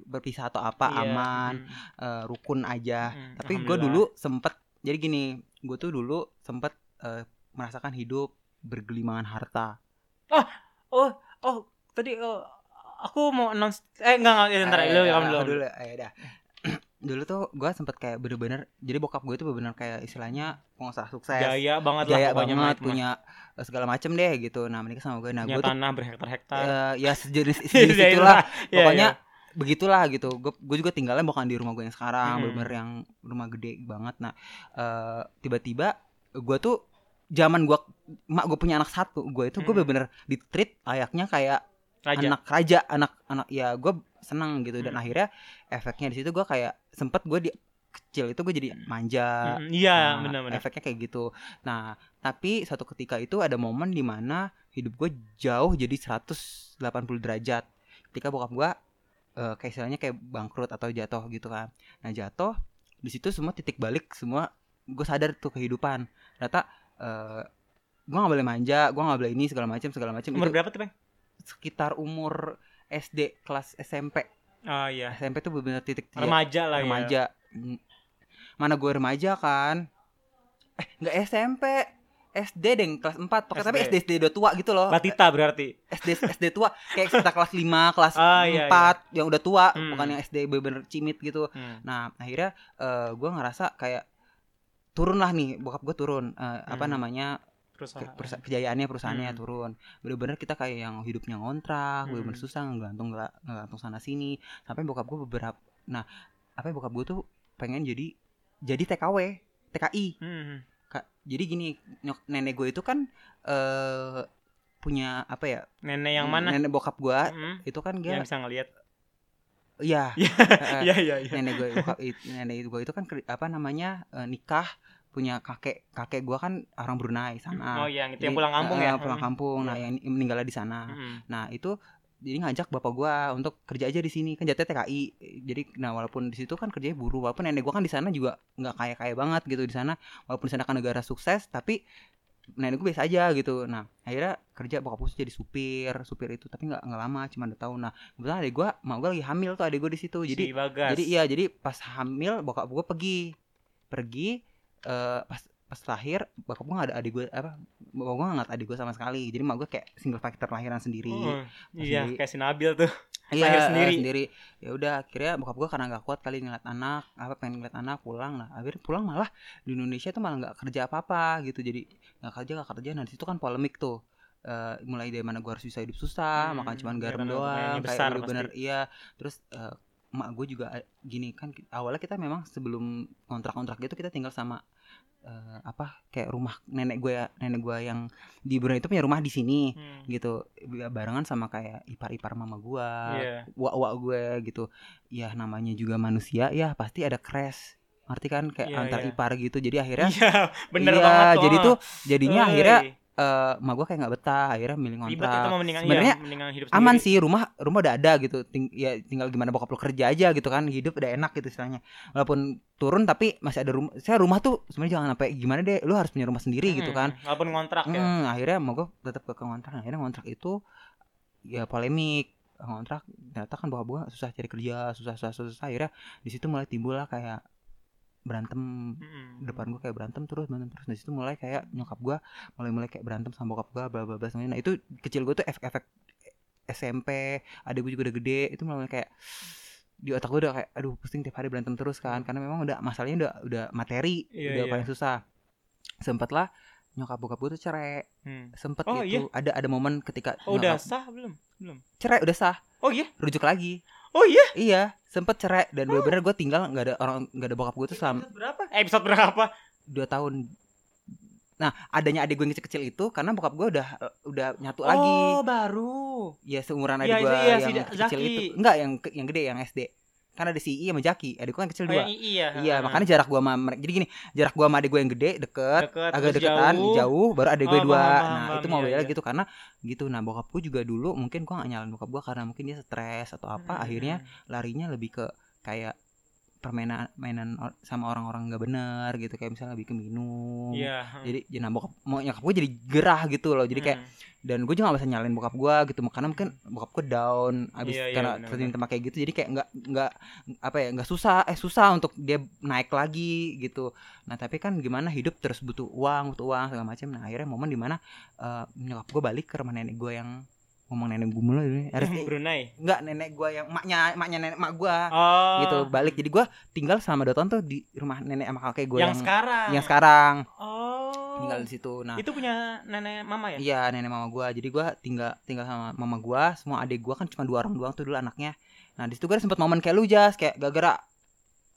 A: berpisah atau apa
C: Iya,
A: aman
C: mm,
A: eh, rukun aja
C: mm,
A: tapi gue
C: alhamdulillah.
A: dulu sempet jadi gini gue tuh dulu sempet eh, merasakan hidup bergelimangan harta
C: oh tadi oh, aku mau announce eh enggak enggak ya, ntar
A: Eh,
C: dulu
A: eh,
C: kamu dulu
A: aku dulu eh, dah. dulu tuh gue sempet kayak bener-bener jadi bokap gue tuh bener-bener kayak istilahnya pengusaha sukses
C: jaya banget lah
A: jaya
C: pokoknya
A: banget
C: Mike,
A: punya eh, segala macem deh gitu nah menikah sama gue nah
C: Mike. punya
A: gue tuh
C: tanah berhektar-hektar
A: Eh, ya sejenis,
C: Iya,
A: sejenis itulah
C: iya,
A: pokoknya
C: iya.
A: begitulah gitu gue juga tinggalnya bukan di rumah gue yang sekarang
C: Mm.
A: bener-bener yang rumah gede banget nah eh, tiba-tiba gue tuh zaman gue mak gue punya anak satu gue itu gue
C: Mm.
A: bener-bener di treat layaknya kayak
C: raja
A: anak raja anak anak ya gue seneng gitu dan
C: Mm.
A: akhirnya efeknya di situ gue kayak sempet gue di kecil itu gue jadi manja
C: Mm, iya
A: Nah,
C: benar-benar
A: efeknya kayak gitu. Nah, tapi suatu ketika itu ada momen di mana hidup gue jauh jadi 180 derajat. Ketika bokap gue eh kayak istilahnya kayak bangkrut atau jatuh gitu kan. Nah, jatuh di situ semua titik balik semua gue sadar tuh kehidupan. Ternyata eh gue nggak boleh manja, gue nggak boleh ini segala macam segala macam.
C: umur
A: Itu
C: berapa tuh bang
A: sekitar umur SD kelas SMP.
C: oh iya
A: SMP tuh benar-benar titik titik
C: remaja lah ya
A: Iya, remaja Mm. mana gue remaja kan eh nggak SMP SD deng kelas 4 pokoknya tapi
C: SD.
A: SD SD udah tua gitu loh
C: batita berarti
A: SD SD tua kayak kita kelas 5 kelas
C: Ah, iya,
A: 4 yang udah tua
C: Hmm.
A: bukan yang SD bener-bener cimit gitu
C: Hmm.
A: nah akhirnya eh, gue ngerasa kayak turun lah nih bokap gue turun Eh, apa
C: Hmm.
A: namanya
C: perusahaan
A: ke- perusa- kejayaannya perusahaannya
C: Hmm.
A: turun bener-bener kita kayak yang hidupnya ngontrak
C: Hmm.
A: bener-bener susah ngegantung ngela- ngegantung sana sini sampai bokap gue beberapa nah apa ya, bokap gue tuh pengen jadi jadi TKW TKI
C: Hmm.
A: Ka- jadi gini nyok- nenek gue itu kan eh punya apa ya
C: Nenek yang mana?
A: nenek bokap gue
C: Hmm,
A: itu kan
C: Yang
A: dia
C: bisa ngelihat.
A: iya eh,
C: Iya iya iya.
A: nenek gue bokap- it- nenek gue itu kan keri- apa namanya eh, nikah punya kakek kakek gue kan orang Brunei
C: Oh
A: sana
C: iya, yang itu
A: Jadi,
C: yang pulang kampung
A: eh,
C: ya. Hmm,
A: pulang kampung nah
C: Iya.
A: yang meninggalnya di sana
C: Mm-mm.
A: Nah itu jadi ngajak bapak gua untuk kerja aja di sini kan jatuhnya TKI jadi nah walaupun di situ kan kerjanya buruh walaupun nenek gua kan di sana juga nggak kaya kaya banget gitu di sana walaupun di sana kan negara sukses tapi nenek gua biasa aja gitu nah akhirnya kerja bokap gua tuh jadi supir supir itu tapi nggak nggak lama cuma dua tahun nah kebetulan adik gua mau gua lagi hamil tuh adik gua di situ jadi
C: si Bagas.
A: jadi iya, jadi pas hamil bokap gue pergi. Pergi eh, pas pas lahir bokap gue gak ada adik gue apa bokap gue gak ngeliat adik gue sama sekali. Jadi mak gue kayak single factor lahiran sendiri.
C: Mm,
A: Pas
C: iya,
A: sendiri.
C: kayak si Nabil tuh.
A: Iya,
C: lahir
A: eh,
C: sendiri.
A: Ya udah akhirnya bokap gue karena gak kuat kali ngeliat anak, apa pengen ngeliat anak pulang lah. Akhirnya pulang malah di Indonesia tuh malah gak kerja apa-apa gitu. Jadi gak kerja gak kerja. Nah di situ kan polemik tuh. Eh, mulai dari mana gue harus bisa hidup susah,
C: Hmm,
A: makan cuman
C: iya,
A: garam
C: karena
A: doang,
C: lumayan
A: kayak
C: besar
A: bener-bener iya. Terus eh, emak gue juga eh, gini kan ki- awalnya kita memang sebelum kontrak-kontrak gitu kita tinggal sama eh, apa kayak rumah nenek gue ya nenek gue yang di Brunei itu punya rumah di sini
C: Hmm.
A: gitu barengan sama kayak ipar-ipar mama gua
C: Iya.
A: wak-wak gue gitu ya namanya juga manusia ya pasti ada crash ngerti kan kayak
C: Iya,
A: antar
C: iya.
A: ipar gitu jadi akhirnya
C: Iya, bener
A: Iya,
C: banget
A: jadi
C: ah.
A: tuh jadinya
C: Woi,
A: akhirnya eh ma gue kayak nggak betah akhirnya milih
C: ribet itu
A: ngontrak
C: mau mendingan
A: Sebenarnya
C: iya, mendingan hidup
A: aman
C: sendiri.
A: sih rumah rumah udah ada gitu Ting- ya tinggal gimana bokap lo kerja aja gitu kan hidup udah enak gitu istilahnya walaupun turun tapi masih ada rumah saya rumah tuh sebenarnya jangan sampai gimana deh lu harus punya rumah sendiri gitu kan
C: Mm, Walaupun ngontrak ya.
A: Hmm, akhirnya mau gue tetap ke kontrak. Akhirnya kontrak itu ya polemik kontrak ternyata kan bahwa gue susah cari kerja susah susah susah, susah. akhirnya di situ mulai timbul lah kayak berantem
C: Mm-mm.
A: depan gue kayak berantem terus berantem terus di situ mulai kayak nyokap gue mulai mulai kayak berantem sama bokap gue bla bla bla semuanya nah itu kecil gue tuh efek-efek SMP adik gue juga udah gede itu mulai mulai kayak di otak gue udah kayak aduh pusing tiap hari berantem terus kan karena memang udah masalahnya udah udah materi
C: Iya,
A: udah
C: iya.
A: paling susah sempet lah nyokap bokap gue tuh cerai
C: Hmm.
A: sempet
C: Oh,
A: gitu ada ada momen ketika
C: Oh, udah
A: nyokap-
C: sah belum? Belum.
A: cerai udah sah
C: Oh iya.
A: rujuk lagi
C: Oh iya.
A: iya sempet cerai dan bener-bener gue tinggal nggak ada orang nggak ada bokap gue tuh selama
C: Episode berapa? Episode berapa?
A: dua tahun nah adanya adik gue yang kecil-kecil itu karena bokap gue udah eh, udah nyatu lagi
C: Oh, baru.
A: ya seumuran
C: Iya,
A: adik gue
C: itu iya,
A: yang
C: si Da-
A: kecil
C: Zaki.
A: itu enggak yang ke- yang gede yang SD karena ada si I sama Jaki adik gue yang kecil
C: Oh,
A: dua
C: yang II ya.
A: iya makanya jarak gue sama mereka jadi gini jarak gue sama adik gue yang gede deket
C: Deket,
A: agak
C: terus
A: deketan jauh. baru ada gue
C: Oh,
A: dua
C: paham, paham,
A: nah
C: paham.
A: itu mau
C: Iya,
A: beda
C: iya.
A: gitu karena gitu nah bokap gue juga dulu mungkin gue gak nyalain bokap gue karena mungkin dia stres atau apa
C: Mm-mm.
A: akhirnya larinya lebih ke kayak permainan mainan or- sama orang-orang nggak bener gitu kayak misalnya lebih ke minum
C: Iya.
A: jadi jadi nah, bokap mau nyokap gue jadi gerah gitu loh jadi kayak
C: Mm.
A: dan gue juga gak bisa nyalain bokap gue gitu karena mungkin bokap gue down abis
C: Iya, iya,
A: karena
C: benar-benar.
A: terjadi tempat kayak gitu jadi kayak nggak nggak apa ya nggak susah eh susah untuk dia naik lagi gitu nah tapi kan gimana hidup terus butuh uang butuh uang segala macam nah akhirnya momen dimana eh nyokap gue balik ke rumah nenek gue yang ngomong nenek gue mulu
C: Hmm.
A: ini harus
C: Brunei.
A: nggak nenek gue yang maknya maknya nenek mak gue
C: Oh.
A: gitu balik jadi gue tinggal selama dua tahun tuh di rumah nenek sama kakek gue
C: yang, sekarang.
A: yang sekarang
C: Oh.
A: tinggal di situ nah
C: Itu punya nenek mama ya?
A: Iya nenek mama gua Jadi gua tinggal tinggal sama mama gua Semua adik gua kan cuma dua orang doang tuh dulu anaknya Nah disitu gue sempet momen kayak lu Jas Kayak gara-gara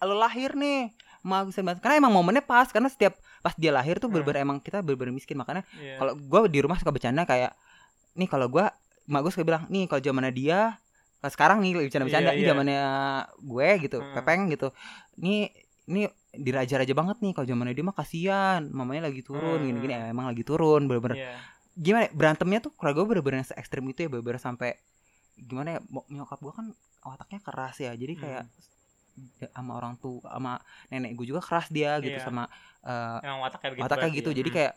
A: Lo lahir nih Ma, bisa banget. Karena emang momennya pas Karena setiap Pas dia lahir tuh
C: Hmm.
A: bener-bener emang kita bener-bener miskin Makanya
C: Iya.
A: kalau gua di rumah suka bercanda kayak Nih kalau gua Mak gua suka bilang Nih kalau zamannya dia kalau Sekarang nih lagi bercanda-bercanda
C: Iya,
A: Ini
C: iya.
A: zamannya gue gitu
C: Hmm.
A: Pepeng gitu Nih ini diraja-raja banget nih kalau zamannya dia mah kasihan mamanya lagi turun
C: Hmm.
A: gini-gini Ya, emang lagi turun bener-bener
C: Iya.
A: gimana ya, berantemnya tuh keluarga gue bener-bener yang se-ekstrim itu ya bener-bener sampai gimana ya mo- nyokap gue kan otaknya keras ya jadi kayak
C: Hmm.
A: ya, sama orang tuh sama nenek gue juga keras dia gitu
C: Iya.
A: sama eh,
C: Emang wataknya begitu.
A: otaknya
C: berarti
A: gitu
C: ya.
A: jadi kayak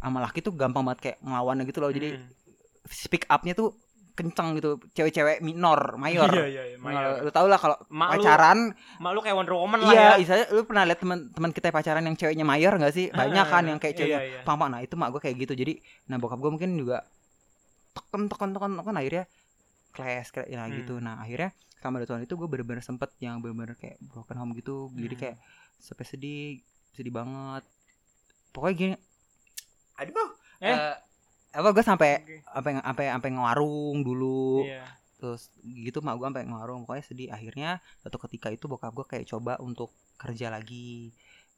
A: sama laki tuh gampang banget kayak ngelawannya gitu loh jadi
C: Mm.
A: speak upnya tuh kenceng gitu cewek-cewek minor mayor
C: Iya, iya, iya. mayor.
A: Kalau- lu tau lah kalau
C: Mak lu,
A: pacaran
C: mak lu kayak Wonder Woman lah ya.
A: iya misalnya lu pernah lihat teman-teman kita yang pacaran yang ceweknya mayor gak sih banyak kan yang kayak
C: Eh,
A: cewek
C: Iya, iya.
A: paham Pak. nah itu mak gue kayak gitu jadi nah bokap gue mungkin juga teken teken teken teken akhirnya clash kayak nah,
C: Hmm.
A: gitu nah akhirnya selama dua tahun itu gue bener-bener sempet yang bener-bener kayak broken home gitu jadi
C: Hmm.
A: kayak sampai sedih sedih banget pokoknya gini aduh
C: Eh.
A: eh, apa gue sampai
C: Oke.
A: sampai sampai sampai ngewarung dulu
C: Iya.
A: terus gitu mak gue sampai ngelarung pokoknya sedih akhirnya satu ketika itu bokap gue kayak coba untuk kerja lagi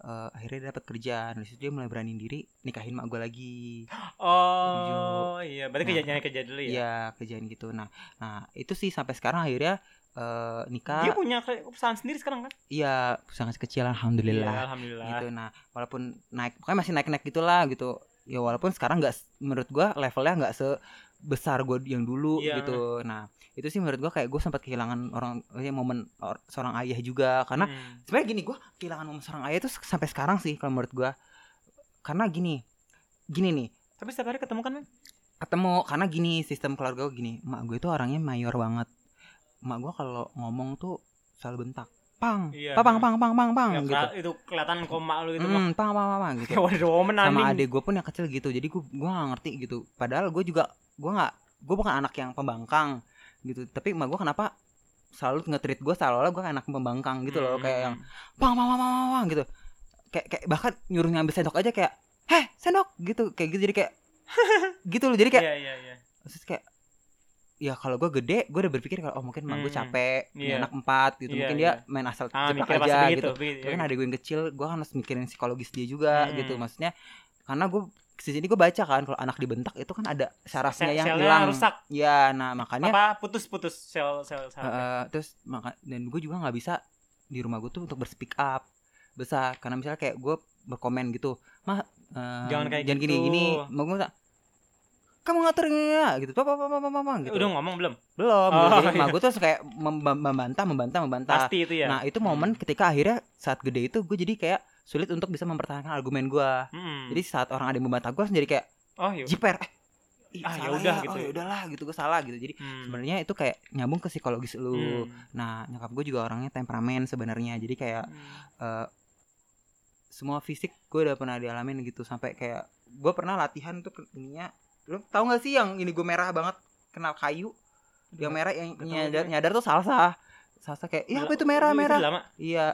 A: eh, akhirnya dia dapat kerjaan dari situ dia mulai beraniin diri nikahin mak gue lagi
C: Oh iya, berarti
A: Nah.
C: kerja nyari kerja dulu ya.
A: Iya kerjaan gitu nah nah itu sih sampai sekarang akhirnya eh,
C: Dia
A: nikah
C: punya kre- perusahaan sendiri sekarang kan?
A: iya sangat kecil
C: Iya,
A: alhamdulillah
C: alhamdulillah.
A: gitu nah walaupun naik pokoknya masih naik naik gitulah gitu ya walaupun sekarang nggak s- menurut gua levelnya nggak sebesar gua yang dulu
C: Iya.
A: gitu nah itu sih menurut gua kayak gua sempat kehilangan orang ya, momen or- seorang ayah juga karena
C: Hmm.
A: sebenarnya gini gua kehilangan momen seorang ayah itu sampai sekarang sih kalau menurut gua karena gini gini nih
C: tapi setiap hari ketemu kan? Bang?
A: ketemu karena gini sistem keluarga gue gini mak gue itu orangnya mayor banget mak gue kalau ngomong tuh selalu bentak pang
C: Iya.
A: pang pang pang pang pang
C: Ya,
A: gitu
C: kela- itu kelihatan koma lu itu mah. Ya,
A: Mm, pang pang pang, pang gitu
C: Kayak waduh woman
A: sama
C: anjing.
A: adek gue pun yang kecil gitu jadi gue gue gak ngerti gitu padahal gue juga gue nggak gue bukan anak yang pembangkang gitu tapi emak gue kenapa selalu nge-treat gue seolah-olah gue anak pembangkang gitu
C: Hmm.
A: loh kayak yang pang pang pang pang, pang, pang, gitu kayak kayak bahkan nyuruh ngambil sendok aja kayak heh sendok gitu kayak gitu jadi kayak gitu loh jadi kayak
C: Iya iya iya.
A: terus kayak ya kalau gue gede gue udah berpikir kalau oh mungkin emang gue
C: Hmm,
A: capek punya
C: iya.
A: anak empat gitu
C: Iya,
A: mungkin dia main asal
C: Ah,
A: ceplak
C: mikir pas
A: aja
C: begitu.
A: gitu
C: begitu,
A: tapi kan
C: iya.
A: ada gue yang kecil gue kan harus mikirin psikologis dia juga
C: Hmm.
A: gitu maksudnya karena gue kesini gue baca kan kalau anak dibentak itu kan ada sarafnya
C: Sel-
A: yang
C: selnya
A: hilang
C: rusak.
A: ya nah makanya
C: Apa putus-putus sel sel sel.
A: eh, terus maka dan gue juga nggak bisa di rumah gue tuh untuk berspeak up besar karena misalnya kayak gue berkomen gitu mah eh,
C: Jangan kayak
A: jangan gini
C: gitu."
A: gini mau gue minta, kamu ngatur nggak gitu papa papa papa papa
C: Eh,
A: gitu
C: Udah ngomong belum?
A: belum gitu.
C: Oh,
A: jadi
C: iya.
A: emak gue tuh kayak mem- mem- membantah membantah membantah
C: Pasti itu ya.
A: nah itu momen ketika akhirnya saat gede itu gue jadi kayak sulit untuk bisa mempertahankan argumen gue
C: Mm.
A: jadi saat orang ada yang membantah gue jadi kayak
C: oh iya.
A: jiper eh ih,
C: Ah,
A: salah
C: yaudah
A: ya.
C: gitu
A: oh,
C: ya.
A: yaudahlah gitu gue salah gitu jadi
C: Hmm.
A: sebenarnya itu kayak nyambung ke psikologis lu
C: Hmm.
A: nah nyokap gue juga orangnya temperamen sebenarnya jadi kayak eh, semua fisik gue udah pernah dialamin gitu sampai kayak gue pernah latihan tuh ke- ininya lu tau gak sih yang ini gue merah banget kenal kayu yang
C: Hmm.
A: merah yang
C: Gak tau
A: nyadar
C: gue.
A: nyadar tuh salsa salsa kayak iya apa itu merah
C: Itu
A: merah
C: lama.
A: iya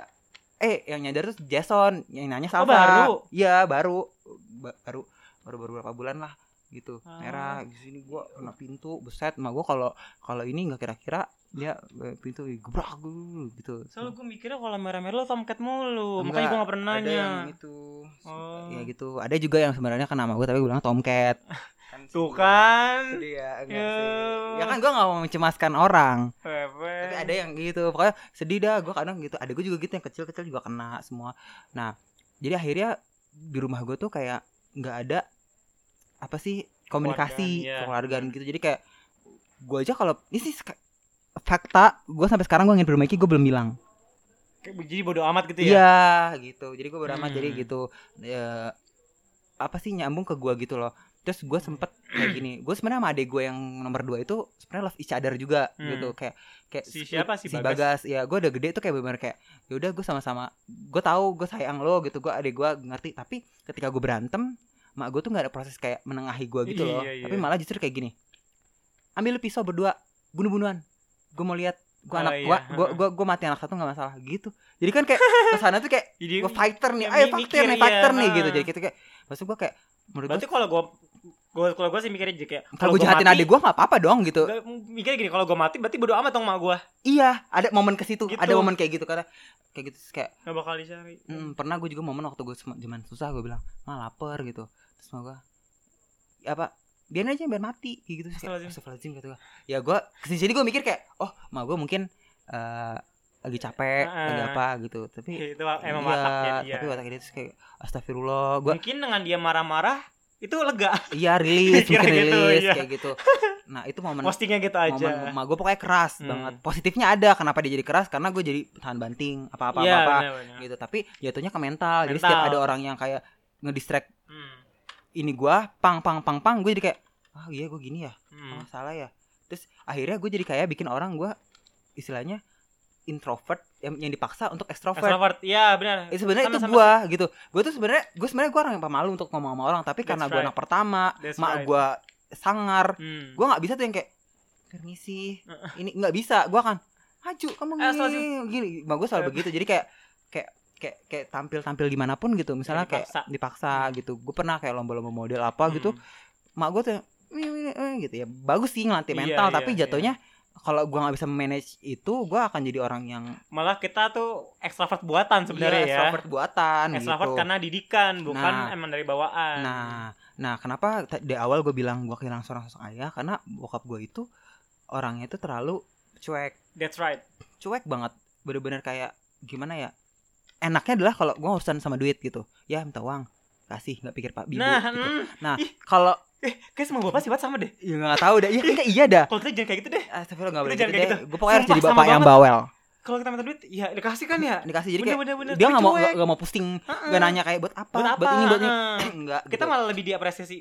A: eh yang nyadar tuh Jason yang nanya salsa
C: Oh, baru?
A: iya baru Ba- baru baru baru berapa bulan lah gitu
C: Ah.
A: merah di sini gua kena pintu beset mah gua kalau kalau ini nggak kira-kira dia eh, pintu gebrak gua, gitu
C: Soalnya gue mikirnya kalau merah-merah lo tomcat mulu Makanya
A: Enggak,
C: gue gak pernah
A: ada
C: nanya
A: yang itu
C: Oh.
A: ya gitu ada juga yang sebenarnya kena nama gue tapi bilang tomcat kan
C: Tuh kan
A: sedih ya, enggak
C: Ya.
A: sih. ya kan gue nggak mau mencemaskan orang
C: Pepe.
A: tapi ada yang gitu pokoknya sedih dah gue kadang gitu ada gue juga gitu yang kecil kecil juga kena semua nah jadi akhirnya di rumah gue tuh kayak nggak ada apa sih komunikasi
C: Keluargaan, iya.
A: keluargaan gitu jadi kayak gue aja kalau ini sih sek- fakta gue sampai sekarang gue ingin bermaiki gue belum bilang
C: Kayak Jadi bodo amat gitu ya
A: Iya gitu. Jadi gue beramat
C: Hmm.
A: jadi gitu. Eh, apa sih nyambung ke gue gitu loh. Terus gue sempet kayak gini. Gue sebenarnya sama adik gue yang nomor dua itu sebenarnya love each other juga
C: Hmm.
A: gitu. Kayak kayak
C: Si siapa? Si
A: si Bagas. Ya gue udah gede tuh kayak bener kayak ya udah gue sama-sama. Gue tahu gue sayang lo gitu. Gue adik gue ngerti. Tapi ketika gue berantem, mak gue tuh nggak ada proses kayak menengahi gue gitu loh.
C: Iya, iya.
A: Tapi malah justru kayak gini. Ambil pisau berdua bunuh-bunuhan. Gue mau lihat gue
C: Oh,
A: anak
C: iya.
A: gua, gua, gua, gua mati anak satu nggak masalah gitu jadi kan kayak kesana tuh kayak
C: Jadi
A: gue fighter nih
C: Ya,
A: ayo
C: mi-
A: fighter
C: mikir,
A: nih fighter
C: iya,
A: nih
C: nah.
A: gitu jadi kita kayak maksud gue kayak menurut
C: Berarti
A: gue
C: kalau gue gua, kalau gue sih mikirnya jadi kayak
A: kalau gue jahatin adik gue nggak apa-apa dong gitu
C: Mikirnya gini Kalau gue mati berarti bodo amat dong sama gue
A: iya ada momen ke situ
C: Gitu.
A: ada momen kayak gitu karena kayak gitu terus kayak
C: Gak bakal dicari
A: mm, pernah gue juga momen waktu gue zaman susah gue bilang mah lapar gitu terus mau gue apa biarin aja biar mati kayak gitu Terus kayak
C: Astagfirullahaladzim.
A: astagfirullahaladzim kata gue ya gue kesini sini gue mikir kayak oh mah gue mungkin eh, lagi capek
C: Ah.
A: lagi apa gitu tapi
C: Itu emang
A: Iya,
C: wataknya dia Hmm.
A: tapi wataknya dia terus kayak astagfirullah gua
C: Mungkin dengan dia marah-marah Itu lega
A: iya rilis
C: Kira
A: mungkin
C: gitu,
A: rilis
C: iya.
A: kayak gitu nah itu momen
C: Postingnya gitu
A: momen
C: aja
A: emak gue pokoknya keras
C: Hmm.
A: banget positifnya ada kenapa dia jadi keras karena gue jadi tahan banting apa apa
C: Iya,
A: apa,
C: benar-benar.
A: gitu tapi jatuhnya ke mental. jadi
C: Mental.
A: setiap ada orang yang kayak ngedistract
C: Hmm,
A: ini gua pang pang pang pang gue jadi kayak ah iya gue gini ya
C: hmm.
A: ah, salah ya terus akhirnya gue jadi kayak bikin orang gua istilahnya introvert yang, yang dipaksa untuk extrovert
C: Extrovert Iya benar
A: Eh, sebenarnya itu
C: Sama-sama
A: gua gitu. Gua tuh sebenarnya gua sebenarnya gua orang yang pemalu untuk ngomong sama orang, tapi
C: That's
A: karena gua
C: right.
A: anak pertama,
C: That's
A: mak
C: right.
A: gua sangar,
C: Hmm.
A: gua nggak bisa tuh yang kayak permisi. Ini nggak bisa, gua akan maju kamu
C: Eh,
A: gini,
C: selanjutnya.
A: gini. Mak gua selalu
C: Eh.
A: begitu. Jadi kayak kayak kayak kayak tampil-tampil dimanapun gitu. Misalnya kayak
C: dipaksa.
A: dipaksa gitu. Gua pernah kayak lomba-lomba model apa gitu.
C: Hmm.
A: Mak gua tuh yang, "Wih, wih, wih," gitu ya. Bagus sih ngelatih
C: Iya,
A: mental,
C: iya,
A: tapi
C: iya.
A: jatuhnya kalau gua nggak bisa manage itu gua akan jadi orang yang
C: Malah kita tuh ekstrovert buatan sebenarnya
A: iya,
C: ya.
A: extrovert buatan
C: Extrovert
A: gitu.
C: karena didikan, bukan
A: Nah.
C: emang dari bawaan.
A: Nah, nah kenapa ta- di awal gue bilang gue kehilangan seorang sosok ayah karena bokap gue itu orangnya itu terlalu cuek,
C: That's right.
A: cuek banget, bener-bener kayak gimana ya? Enaknya adalah kalau gue urusan sama duit gitu, ya minta uang, kasih nggak pikir pak bibu.
C: nah,
A: gitu.
C: hmm,
A: Kalau
C: kayak semua bapak sih buat sama deh.
A: ya nggak tahu dah, iya kan kayak iya dah.
C: Kalau kita jangan kayak gitu deh.
A: Astagfirullah nggak boleh
C: Jangan
A: gitu
C: kayak
A: deh.
C: gitu.
A: Gue pokoknya harus
C: Sumpah,
A: jadi
C: sama
A: bapak yang
C: banget.
A: bawel.
C: Kalau kita minta duit, ya dikasih kan ya.
A: Dikasih jadi kayak
C: Bener-bener.
A: dia nggak mau
C: cuek.
A: nggak mau posting,
C: Heeh.
A: nggak nanya kayak buat apa,
C: Buat apa?
A: ini buat ini.
C: Heeh.
A: Enggak.
C: Kita malah lebih diapresiasi.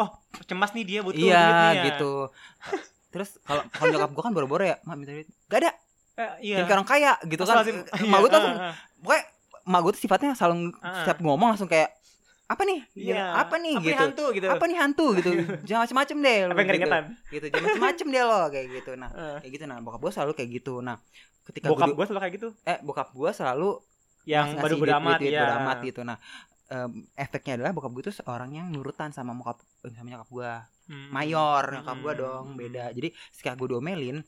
C: Oh, cemas nih dia butuh
A: Gitu. iya
C: duit nih ya.
A: gitu terus kalau kalau nyokap gue kan boro-boro ya mak minta duit gak ada
C: Eh, iya.
A: jadi orang kaya gitu kan
C: Astagfirullahaladzim.
A: Eh,
C: Iya,
A: mak gue tuh langsung-
C: ah, ah.
A: pokoknya mak gue tuh sifatnya selalu
C: Ah.
A: setiap ngomong langsung kayak apa nih
C: Iya.
A: Gitu, apa nih
C: Apa nih
A: gitu
C: hantu gitu.
A: apa nih hantu gitu jangan macem-macem deh lo,
C: Apa yang keringetan?
A: gitu, gitu. jangan macem-macem deh lo kayak gitu nah
C: Eh.
A: kayak gitu nah bokap gue selalu kayak gitu nah ketika gua
C: Bokap
A: du-
C: gue selalu kayak gitu.
A: eh bokap gue selalu
C: Yang
A: ngasih
C: baru
A: duit-
C: beramat
A: duit- duit
C: ya.
A: bodo amat gitu nah em, efeknya adalah bokap gue tuh seorang yang nurutan sama bokap sama nyokap gue
C: Hmm.
A: mayor nyokap gua
C: Hmm.
A: dong beda jadi ketika gue diomelin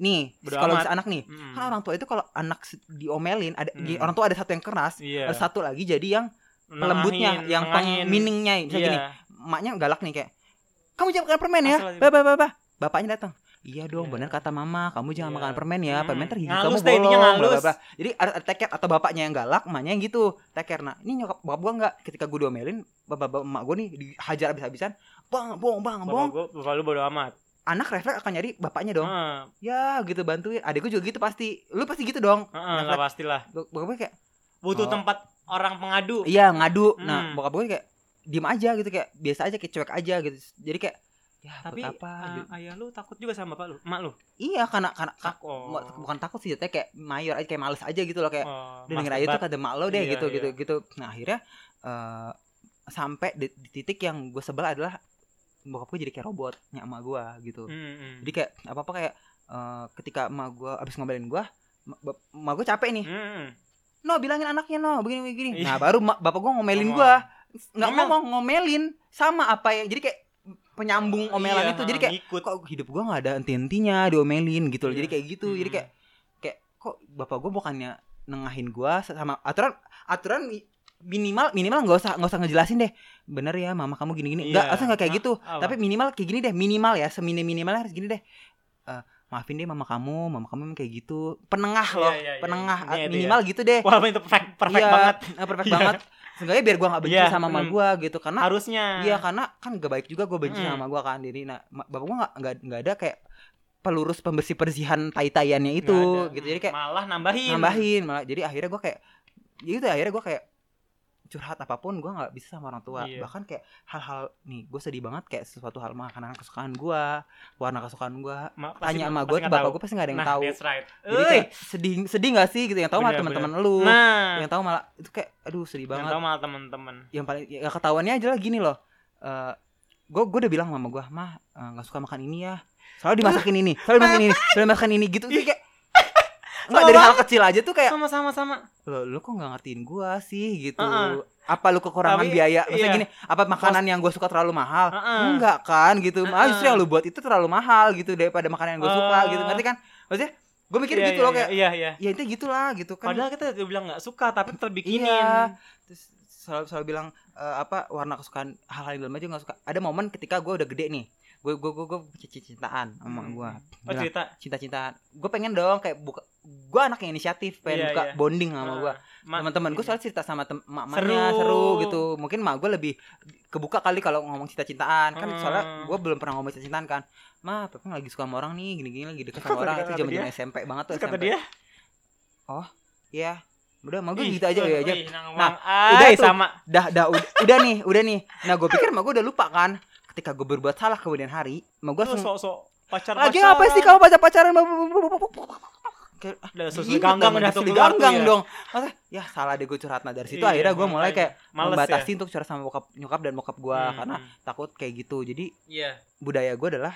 A: nih
C: Bodo
A: kalau
C: amat.
A: bisa anak nih
C: Hmm.
A: kan orang tua itu kalau anak se- diomelin ada di-
C: Hmm.
A: orang tua ada satu yang keras
C: Iya.
A: ada satu lagi jadi yang
C: Nengahin,
A: lembutnya yang
C: nengahin.
A: penginingnya
C: Iya.
A: misalnya gini maknya galak nih kayak kamu jangan makan permen ya
C: Astagfirullahaladzim.
A: bapak bapak bapaknya datang iya dong
C: gitu. Iya.
A: bener kata mama kamu jangan
C: Iya.
A: makan permen ya permen
C: Hmm.
A: tergigit
C: Ngalus deh,
A: kamu
C: intinya
A: bolong bla, bla,
C: ngalus.
A: bla. jadi ada ada teker atau bapaknya yang galak emaknya yang gitu teker nah ini nyokap bokap gua enggak ketika gue diomelin bapak bapak emak gue nih dihajar habis-habisan bang bong bang
C: Bapak
A: bong
C: gua- bapak lu bodo amat.
A: anak refleks akan nyari bapaknya dong
C: Heeh.
A: ya gitu bantuin adikku juga gitu pasti lu pasti gitu dong
C: Heeh, lah
A: Anak
C: pastilah.
A: Bok- bokap gue kayak
C: Butuh
A: Oh.
C: tempat orang pengadu.
A: iya ngadu nah
C: Hmm.
A: bokap gue kayak diem aja gitu kayak biasa aja kayak cuek aja gitu jadi kayak ya
C: Tapi
A: buat apa
C: ah,
A: gitu.
C: ayah lu takut juga sama bapak lu, mak lu.
A: iya karena karena ka-
C: Takut. Oh.
A: mo- bukan takut sih jatuhnya kayak mayor aja kayak males aja gitu loh kayak
C: Oh,
A: udah denger
C: mas
A: aja tuh
C: debat.
A: kata mak lo deh
C: Iya,
A: gitu
C: iya.
A: gitu gitu nah akhirnya eh sampai di, di titik yang gue sebel adalah bokap gue jadi kayak robot nyama gue gitu
C: Hmm, hmm.
A: jadi kayak apa apa kayak eh, ketika emak gue abis ngomelin gue emak gue capek nih
C: Hmm.
A: no bilangin anaknya no begini begini
C: Iya.
A: nah baru ma- bapak gue ngomelin
C: Ngomong.
A: gue nggak
C: Ngomel.
A: ngomong ngomelin sama apa ya jadi kayak penyambung omelan
C: Iya,
A: itu jadi
C: ha,
A: kayak
C: ngikut.
A: kok hidup gue nggak ada enti-entinya diomelin gitu loh jadi
C: Iya.
A: kayak gitu jadi
C: Mm.
A: kayak kayak kok bapak gue bukannya nengahin gue sama aturan aturan i- minimal minimal nggak usah nggak usah ngejelasin deh bener ya mama kamu gini gini nggak
C: Iya.
A: harusnya nggak kayak
C: Ah,
A: gitu
C: apa?
A: tapi minimal kayak gini deh minimal ya seminim minimalnya harus gini deh Eh, maafin deh mama kamu mama kamu emang kayak gitu penengah
C: Iya,
A: loh
C: iya, iya,
A: penengah
C: iya. Intinya itu
A: minimal gitu deh
C: walaupun itu perfect perfect
A: Iya,
C: banget
A: eh, perfect
C: Iya.
A: banget seenggaknya biar gua nggak benci
C: Iya,
A: sama mama
C: bener.
A: gua gitu karena
C: harusnya.
A: iya karena kan gak baik juga gua benci
C: Mm.
A: sama gua kan jadi nah ma- bapak gua nggak nggak nggak ada kayak pelurus pembersih persihan tai taiannya itu
C: Nggak ada.
A: gitu jadi kayak
C: malah nambahin.
A: nambahin malah jadi akhirnya gua kayak ya gitu akhirnya gua kayak curhat apapun gua nggak bisa sama orang tua
C: Iya.
A: bahkan kayak hal-hal nih gua sedih banget kayak sesuatu hal makanan kesukaan gua warna kesukaan gua
C: Ma- pasti-
A: tanya sama
C: pasti
A: gua
C: nggak
A: tuh bapak
C: tahu.
A: gua pasti nggak ada yang
C: nah,
A: tahu
C: That's right.
A: jadi
C: Uy.
A: kayak sedih sedih nggak sih gitu yang tahu malah
C: Bener, bener.
A: teman-teman lu
C: nah,
A: yang tahu malah itu kayak aduh sedih
C: yang
A: banget
C: tahu malah teman-teman.
A: yang paling ya, gak ketahuannya aja lah gini loh gue gue udah bilang sama gue mah eh, nggak suka makan ini ya selalu dimasakin ini selalu dimasakin ini selalu dimasakin ini gitu sih kayak Enggak
C: Sama
A: dari hal kecil aja tuh kayak
C: Sama-sama sama.
A: lo lu kok nggak ngertiin gue sih gitu
C: Heeh.
A: apa lu kekurangan
C: Tapi,
A: biaya maksudnya
C: iya.
A: gini apa makanan yang gue suka terlalu mahal
C: Heeh.
A: "Ah, enggak kan gitu malah
C: Heeh.
A: justru yang lu buat itu terlalu mahal gitu daripada makanan yang gue suka
C: Eh.
A: gitu ngerti kan maksudnya gue mikir
C: Iya,
A: gitu
C: iya,
A: loh kayak
C: Iya, iya.
A: ya intinya gitulah gitu kan
C: Padahal kita udah bilang nggak suka tapi terbikinin.
A: Iya. terus selalu selalu bilang eh, apa warna kesukaan hal-hal yang dalam aja nggak suka ada momen ketika gue udah gede nih gue gue gue cintaan sama emak gue
C: Oh,
A: Bilang,
C: cerita.
A: cinta-cintaan gue pengen dong kayak buka gue anak yang inisiatif pengen
C: Iya,
A: buka
C: iya. Ah,
A: bonding sama gue
C: Ma- iya.
A: teman-teman gue soal cerita sama tem- emak-emaknya
C: Seru.
A: seru. gitu mungkin emak gue lebih kebuka kali kalau ngomong cinta-cintaan kan soalnya
C: Hmm.
A: gue belum pernah ngomong cinta-cintaan kan ma Pepeng lagi suka sama orang nih gini-gini lagi dekat
C: Kata-
A: sama orang itu
C: kata
A: zaman
C: dia.
A: zaman SMP banget tuh
C: Terus kata
A: SMP
C: dia,
A: ya udah mau gue
C: "Ih,
A: gitu aja
C: eh,
A: ya aja
C: ih, nang uang.
A: Nah,
C: Ay,
A: udah tuh.
C: sama.
A: dah dah udah, udah nih udah nih nah gue pikir emak gue udah lupa kan ketika gue berbuat salah kemudian hari emak gue
C: Lu sok-sok pacar
A: lagi apa sih kamu pacar pacaran
C: Udah susul ganggang udah tuh keluar tuh
A: Gitu, ganggang
C: ya.
A: dong Maksudnya, ya salah deh gue curhat nah dari situ
C: Iya,
A: akhirnya gue
C: makanya.
A: mulai kayak
C: Males ya?
A: membatasi untuk curhat sama bokap nyokap dan bokap gue
C: Hmm,
A: karena
C: hmm.
A: takut kayak gitu jadi
C: Iya,
A: budaya gue adalah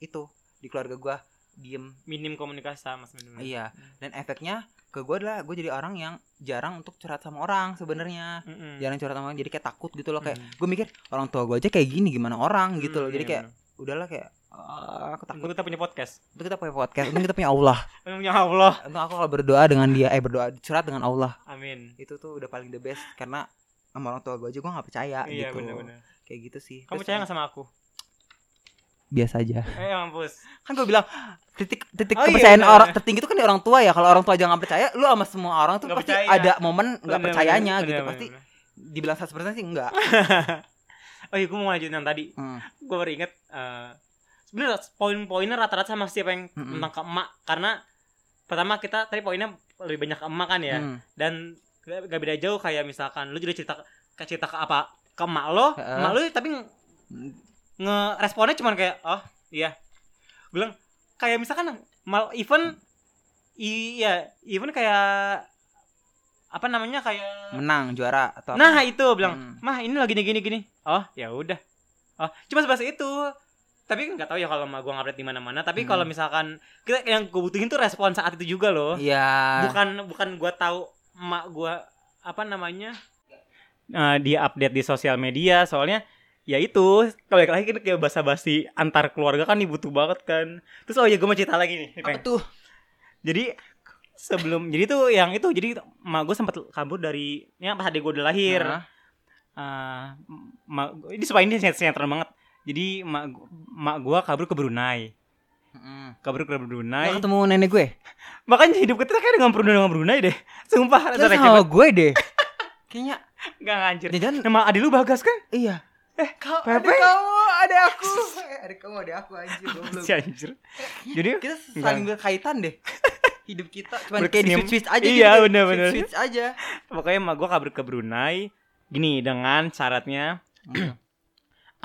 A: itu di keluarga gue diem
C: minim komunikasi sama sebenarnya.
A: iya dan efeknya ke gue adalah gue jadi orang yang jarang untuk curhat sama orang sebenarnya
C: Mm-mm.
A: jarang curhat sama orang jadi Ya, kayak takut gitu loh kayak
C: Mm.
A: gue mikir orang tua gue aja kayak gini gimana orang gitu
C: Mm,
A: loh jadi
C: iya, Hmm.
A: kayak
C: bener.
A: udahlah kayak ah, aku takut
C: Aku tetap punya podcast.
A: Untung kita punya podcast untung kita punya Allah
C: Ya Allah.
A: untung aku kalau berdoa dengan dia eh berdoa curhat dengan Allah
C: Amin.
A: itu tuh udah paling the best karena sama orang tua gue aja gue nggak percaya
C: iya
A: gitu
C: benar-benar.
A: kayak gitu sih
C: Kamu
A: Terus
C: percaya nggak sama aku?
A: biasa aja
C: Eh mampus.
A: kan gue bilang titik titik
C: Oh, iya,
A: kepercayaan
C: benar.
A: orang tertinggi itu kan di orang tua ya kalau orang tua aja nggak percaya lu sama semua orang tuh
C: Nggak
A: pasti
C: percaya.
A: ada momen nggak
C: Benar-benar,
A: percayanya gitu
C: benar-benar,
A: pasti
C: benar-benar.
A: dibilang 100% sih enggak
C: Oh iya, gue mau lanjutin yang tadi.
A: Hmm.
C: Gue baru inget. eh, Sebenarnya poin-poinnya rata-rata sama siapa yang
A: Mm-mm.
C: tentang ke emak karena pertama kita tadi poinnya lebih banyak ke emak kan ya
A: Hmm.
C: dan gak, gak beda jauh kayak misalkan lu juga cerita ke cerita ke apa ke emak lo
A: Heeh.
C: emak lo tapi nge- ngeresponnya cuman kayak oh iya gue bilang kayak misalkan mal even iya even kayak apa namanya kayak
A: menang juara atau
C: nah itu bilang
A: Hmm.
C: mah ini lagi gini gini gini oh ya udah oh cuma sebahas itu tapi nggak tahu ya kalau mah gua ngupdate di mana mana tapi
A: Hmm.
C: kalau misalkan kita yang gue butuhin tuh respon saat itu juga loh
A: iya
C: bukan bukan gua tahu emak gua apa namanya eh, dia update di sosial media soalnya ya itu kalau balik lagi kan kayak basa-basi antar keluarga kan dibutuh banget kan terus oh ya gue mau cerita lagi nih Peng.
A: apa tuh
C: jadi sebelum jadi tuh yang itu jadi emak gue sempat kabur dari ya pas adik gue udah lahir
A: Nah,
C: Eh, emak gua- ini supaya ini sinetron sinetron banget jadi emak gu- emak gue kabur ke Brunei
A: mm.
C: kabur ke Brunei
A: Nggak ketemu nenek gue
C: makanya hidup kita kayak dengan Brunei dengan Brunei deh sumpah
A: Terus
C: rasa
A: sama gue deh Kayaknya
C: Gak anjir
A: Jangan
C: Nama adik lu Bagas kan?
A: Iya Eh kau
C: Pepe.
A: Ada kamu Ada aku Eh, Ada kamu Ada aku anjir goblok.
C: Si anjir Jadi
A: Kita saling berkaitan deh Hidup kita Cuman kayak di
C: Berkesinam-
A: switch-switch aja
C: Iya,
A: gitu.
C: bener-bener.
A: Switch-switch aja
C: pokoknya emak gue kabur ke Brunei Gini dengan syaratnya
A: Hmm.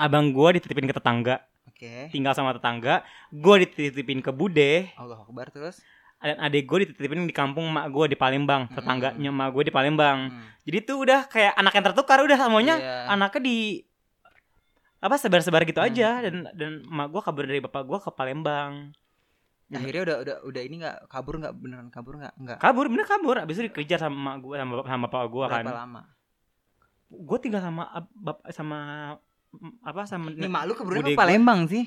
C: Abang gue dititipin ke tetangga
A: Oke
C: Tinggal sama tetangga Gue dititipin ke Bude
A: Allah Akbar terus
C: Dan adik gue dititipin di kampung emak gue di Palembang
A: Hmm.
C: Tetangganya emak gue di Palembang
A: Hmm.
C: Jadi tuh udah kayak anak yang tertukar Udah semuanya
A: Iya.
C: anaknya di apa sebar-sebar gitu
A: Hmm.
C: aja dan dan emak gue kabur dari bapak gue ke Palembang
A: Ya, Akhirnya udah udah udah ini nggak kabur nggak beneran kabur nggak nggak
C: kabur bener kabur abis itu dikejar sama emak gue sama, bap- sama bapak gue kan
A: berapa lama?
C: gue tinggal sama ab- bap- sama mm, apa sama
A: Ini malu ke Brunei
C: Bude
A: ke
C: gua.
A: Palembang sih.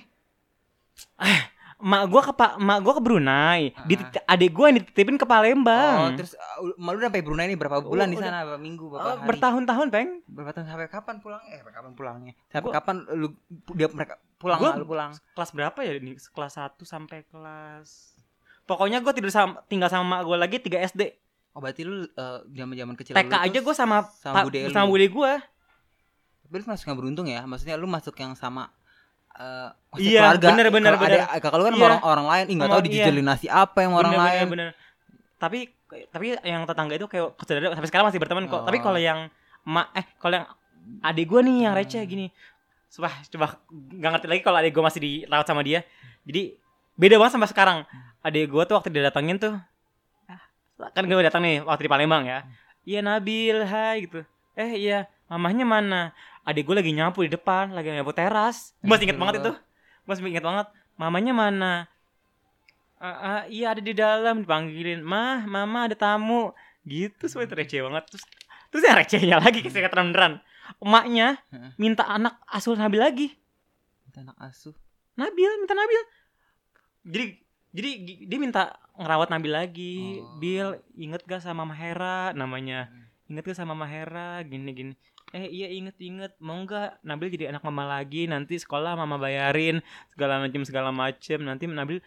C: mak gue ke pa- mak gue ke Brunei
A: Ah.
C: di adik gue yang dititipin ke
A: Oh,
C: Palembang
A: terus uh, malu udah sampai Brunei nih berapa
C: Oh,
A: bulan di
C: udah.
A: sana? Berapa minggu, berapa
C: Oh,
A: hari?
C: bertahun-tahun peng
A: berapa tahun sampai kapan pulang eh sampai kapan pulangnya sampai
C: Gua-
A: kapan lu dia mereka pulang
C: Gua-
A: nggak lu pulang
C: kelas berapa ya ini kelas 1 sampai kelas pokoknya gue tidur sama tinggal sama mak gue lagi 3 SD
A: oh berarti lu zaman zaman kecil
C: TK aja gue sama
A: sama
C: pa-
A: bude lu
C: sama bude gue
A: tapi lu masuk yang beruntung ya maksudnya lu masuk yang sama eh
C: Iya,
A: maksudnya
C: bener, bener,
A: Kalau
C: bener.
A: ada kakak lu kan sama
C: Iya.
A: orang orang lain ih
C: Sama-
A: nggak
C: iya.
A: tahu dijujelin nasi apa yang orang
C: Bener,
A: lain
C: bener, bener. tapi tapi yang tetangga itu kayak saudara sampai sekarang masih berteman kok tapi
A: Oh.
C: kalau yang emak eh kalau yang adik gue nih yang receh
A: Hmm.
C: gini coba coba nggak ngerti lagi kalau adik gue masih dirawat sama dia jadi beda banget sama sekarang adik gue tuh waktu dia datangin tuh ah, kan gue datang nih waktu di Palembang ya iya Nabil hai gitu eh iya mamahnya mana adik gue lagi nyapu di depan lagi nyapu teras gue masih inget banget itu gue masih inget banget mamanya mana "Ah, ah, iya ada di dalam dipanggilin mah mama ada tamu gitu semua itu receh banget terus terus yang recehnya lagi kasih kata beneran emaknya
A: Heeh.
C: minta anak asuh Nabil lagi
A: Minta anak asuh
C: Nabil minta Nabil jadi jadi gi- dia minta ngerawat Nabil lagi
A: Oh.
C: Bill inget gak sama Mama Hera namanya inget gak sama Mama Hera gini gini eh iya inget inget mau nggak Nabil jadi anak mama lagi nanti sekolah mama bayarin segala macem segala macem nanti Nabil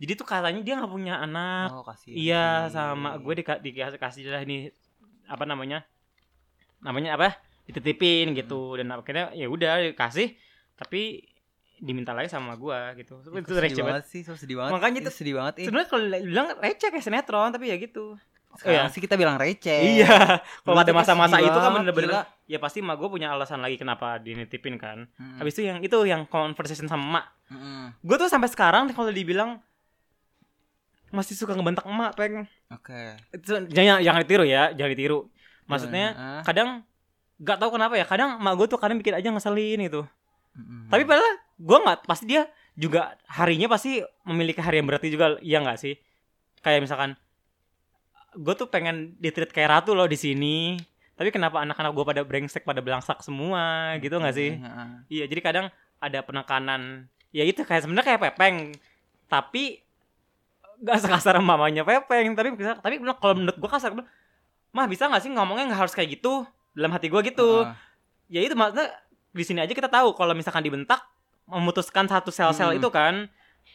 C: jadi tuh katanya dia nggak punya anak
A: oh kasih
C: Iya sama gue dika- dikasih kasih lah nih apa namanya namanya apa dititipin gitu
A: Hmm.
C: dan akhirnya ya udah dikasih tapi diminta lagi sama gue gitu
A: itu
C: itu
A: sedih
C: receh banget
A: banget sih so sedih banget
C: Makanya itu-
A: sedih banget eh.
C: sebenarnya kalau bilang receh kayak sinetron tapi ya gitu iya.
A: sekarang sih kita bilang receh
C: iya kalau
A: Dulu
C: ada
A: Eh, tuh kayak
C: masa-masa
A: sedih
C: itu kan
A: banget,
C: bener-bener
A: gila.
C: ya pasti emak gue punya alasan lagi kenapa dinitipin kan
A: Mm,
C: habis itu yang itu yang conversation sama emak
A: mm,
C: gue tuh sampai sekarang kalau dibilang masih suka ngebentak emak peng
A: oke
C: Itu- jangan jangan ditiru ya jangan ditiru maksudnya
A: Gimana? Ah,
C: kadang nggak tahu kenapa ya kadang emak gue tuh kadang bikin aja ngeselin gitu
A: mm,
C: tapi padahal gue nggak pasti dia juga harinya pasti memiliki hari yang berarti juga iya nggak sih kayak misalkan gue tuh pengen ditreat kayak ratu loh di sini tapi kenapa anak-anak gue pada brengsek pada belangsak semua Ah, gitu nggak sih
A: Mm, ah, ah.
C: iya jadi kadang ada penekanan ya itu kayak sebenarnya kayak pepeng tapi gak sekasar mamanya pepeng tapi bisa tapi bener- kalau menurut gue kasar gue bilang, mah bisa nggak sih ngomongnya nggak harus kayak gitu dalam hati gue gitu
A: Heeh.
C: ya itu maksudnya di sini aja kita tahu kalau misalkan dibentak memutuskan satu sel-sel
A: Hmm.
C: itu kan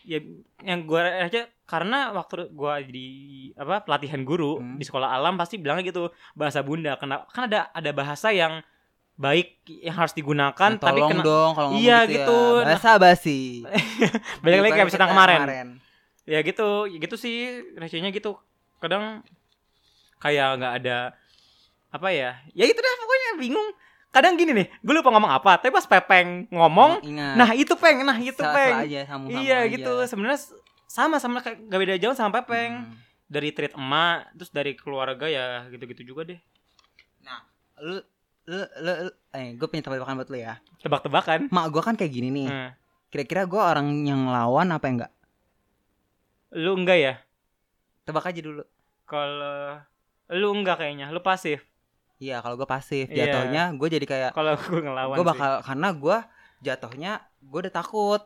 C: ya yang gue aja karena waktu gue di apa pelatihan guru
A: Hmm.
C: di sekolah alam pasti bilangnya gitu bahasa bunda kenapa kan ada ada bahasa yang baik yang harus digunakan
A: Nah,
C: tapi
A: tolong
C: kan kena
A: dong kalau ngomong
C: Iya,
A: gitu,
C: gitu.
A: ya. Bahasa basi.
C: balik lagi kayak
A: Daripada
C: episode yang
A: kita
C: kemarin ya gitu ya gitu sih recehnya gitu kadang kayak nggak ada apa ya ya itu dah pokoknya bingung kadang gini nih gue lupa ngomong apa tapi pas pepeng ngomong
A: Ingat.
C: nah itu peng nah itu
A: Salah-salah
C: peng
A: aja, sambung-sambung
C: iya
A: aja.
C: gitu sebenarnya s- sama sama kayak gak beda jauh sama pepeng
A: Hmm.
C: dari treat emak terus dari keluarga ya gitu-gitu juga deh
A: Lu lu lu, lu- eh gue punya tebakan buat lu ya.
C: tebak-tebakan Nah,
A: Mak gue kan kayak gini nih.
C: Heeh.
A: Kira-kira gue orang yang lawan apa enggak?
C: lu enggak ya
A: Tebak aja dulu.
C: kalau lu enggak kayaknya lu pasif
A: Iya, kalau gue pasif,
C: Iya.
A: jatuhnya gue jadi kayak
C: kalau gue ngelawan
A: gue
C: sih.
A: bakal karena gue jatuhnya gue udah takut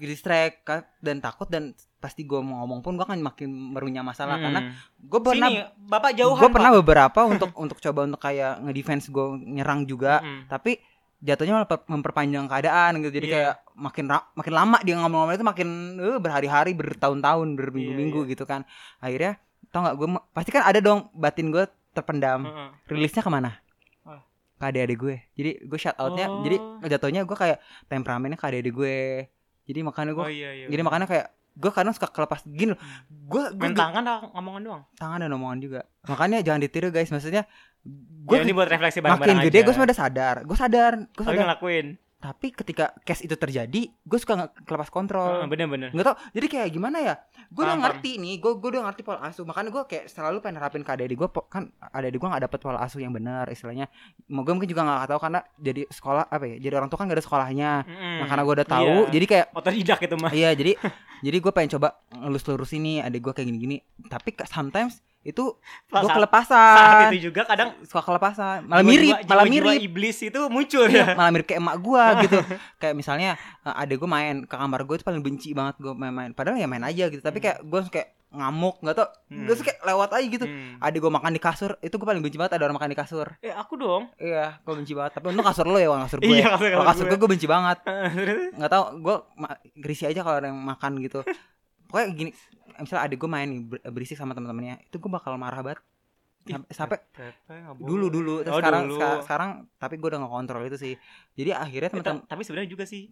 A: distract ka- dan takut dan pasti gue mau ngomong pun gue kan makin merunyah masalah
C: Mm.
A: karena gue pernah
C: Sini, bapak jauhan
A: gue
C: Pak.
A: pernah beberapa untuk untuk coba untuk kayak ngedefense gue nyerang juga
C: Mm.
A: Hmm. tapi jatuhnya malah per- memperpanjang keadaan gitu jadi
C: Iya.
A: kayak makin ra- makin lama dia ngomong-ngomong itu makin eh, berhari-hari bertahun-tahun berminggu-minggu
C: Iya,
A: gitu kan akhirnya tau nggak gue pasti kan ada dong batin gue terpendam
C: Heeh.
A: rilisnya kemana?
C: Ah.
A: Ke adik-adik gue. Jadi gue shout outnya,
C: Oh.
A: jadi jatuhnya gue kayak temperamennya ke adik-adik gue. Jadi makanya gue,
C: oh iya iya. Hmm.
A: jadi makanya kayak gue kadang suka kelepas gini loh. Gue gue
C: main tangan atau ngomongan doang.
A: tangan dan omongan juga. Makanya jangan ditiru guys. Maksudnya
C: Gue
A: gue
C: ya, ini buat refleksi bareng-bareng
A: makin gede
C: aja.
A: gue sebenarnya sadar. Gue sadar, gue
C: tapi
A: sadar.
C: ngelakuin.
A: Tapi ketika case itu terjadi, gue suka nggak kelepas
C: Heeh,
A: kontrol.
C: Bener-bener.
A: Nggak tau, jadi kayak gimana ya Gue udah
C: Ah, Paham,
A: ngerti nih, gue gue udah ngerti pola asuh Makanya gue kayak selalu pengen nerapin ke adik gue Kan adik gue gak dapet pola asuh yang benar istilahnya Mau gue mungkin juga gak tau karena jadi sekolah apa ya Jadi orang tua kan gak ada sekolahnya
C: Mm-mm.
A: Nah karena gue udah tahu
C: Hmm, Iya.
A: jadi kayak
C: otodidak itu mah.
A: Iya jadi jadi gue pengen coba ngelus lurus ini adik gue kayak gini-gini Tapi ke- sometimes itu gue
C: Saat- Saat
A: kelepasan
C: itu juga kadang
A: Suka kelepasan Iya. Malah mirip,
C: jiwa-jiwa-
A: malah
C: jiwa-jiwa
A: mirip
C: iblis itu ya? muncul
A: Iya,
C: ya.
A: malah mirip kayak emak gua gitu kayak misalnya eh, adek gue main ke kamar gue itu paling benci banget gue main-main padahal ya main aja gitu tapi
C: Hmm.
A: kayak gue kayak ngamuk nggak tau
C: Hmm.
A: gue kayak lewat aja gitu
C: Hmm.
A: adek gue makan di kasur itu gue paling benci banget ada orang makan di kasur
C: Eh aku dong.
A: iya gue benci banget tapi untung kasur lo ya bukan kasur gue
C: Iya kasur
A: kalau kasur gue gue benci banget
C: Heeh,
A: nggak tau gue ma- risih aja kalau ada yang makan gitu pokoknya gini misalnya adek gue main nih, ber- berisik sama teman-temannya itu gue bakal marah banget Sampai- sampai dulu dulu terus
C: Oh,
A: sekarang
C: dulu.
A: seka- sekarang tapi gue udah ngontrol itu sih jadi akhirnya
C: Eh,
A: teman-teman
C: ta- tapi sebenarnya juga sih.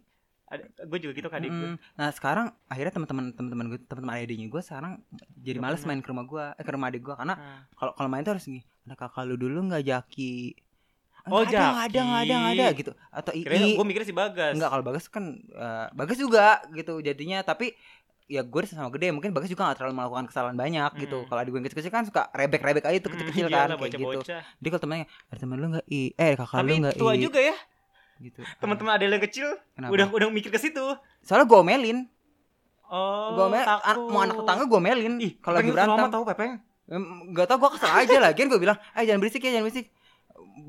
C: Gue juga gitu kan adik gue.
A: Mm, nah sekarang akhirnya teman-teman teman-teman gue teman-teman adiknya gue sekarang jadi
C: Nggak
A: males
C: pernah.
A: main ke rumah gue eh, ke rumah adik gue karena
C: Ah.
A: kalau kalau main tuh harus gini ada kakak lu dulu nggak jaki
C: Oh,
A: Nggak ada nggak ada nggak ada nggak ada
C: Jaki.
A: gitu atau
C: Kira
A: ini
C: gue mikirnya si Bagas.
A: nggak kalau bagus kan eh, bagus juga gitu jadinya tapi ya gue sama gede mungkin bagus juga nggak terlalu melakukan kesalahan banyak gitu
C: Mm.
A: kalau adik gue yang kecil-kecil kan suka rebek-rebek aja tuh kecil-kecil
C: Iya
A: kan
C: lah,
A: kayak gitu
C: bocah-bocah.
A: jadi kalau temennya ada temen lu nggak i eh kakak
C: Tapi
A: lu nggak
C: tua
A: i
C: juga ya
A: gitu Nah,
C: teman-teman ada yang kecil
A: Kenapa?
C: udah udah mikir ke situ.
A: soalnya gue omelin
C: Oh,
A: gue mel an- mau anak tetangga gue melin
C: Ih,
A: kalau lagi
C: Mama
A: berantem
C: tahu Pepeng.
A: Em, nggak tau gue kesel aja lagian gue bilang eh jangan berisik ya jangan berisik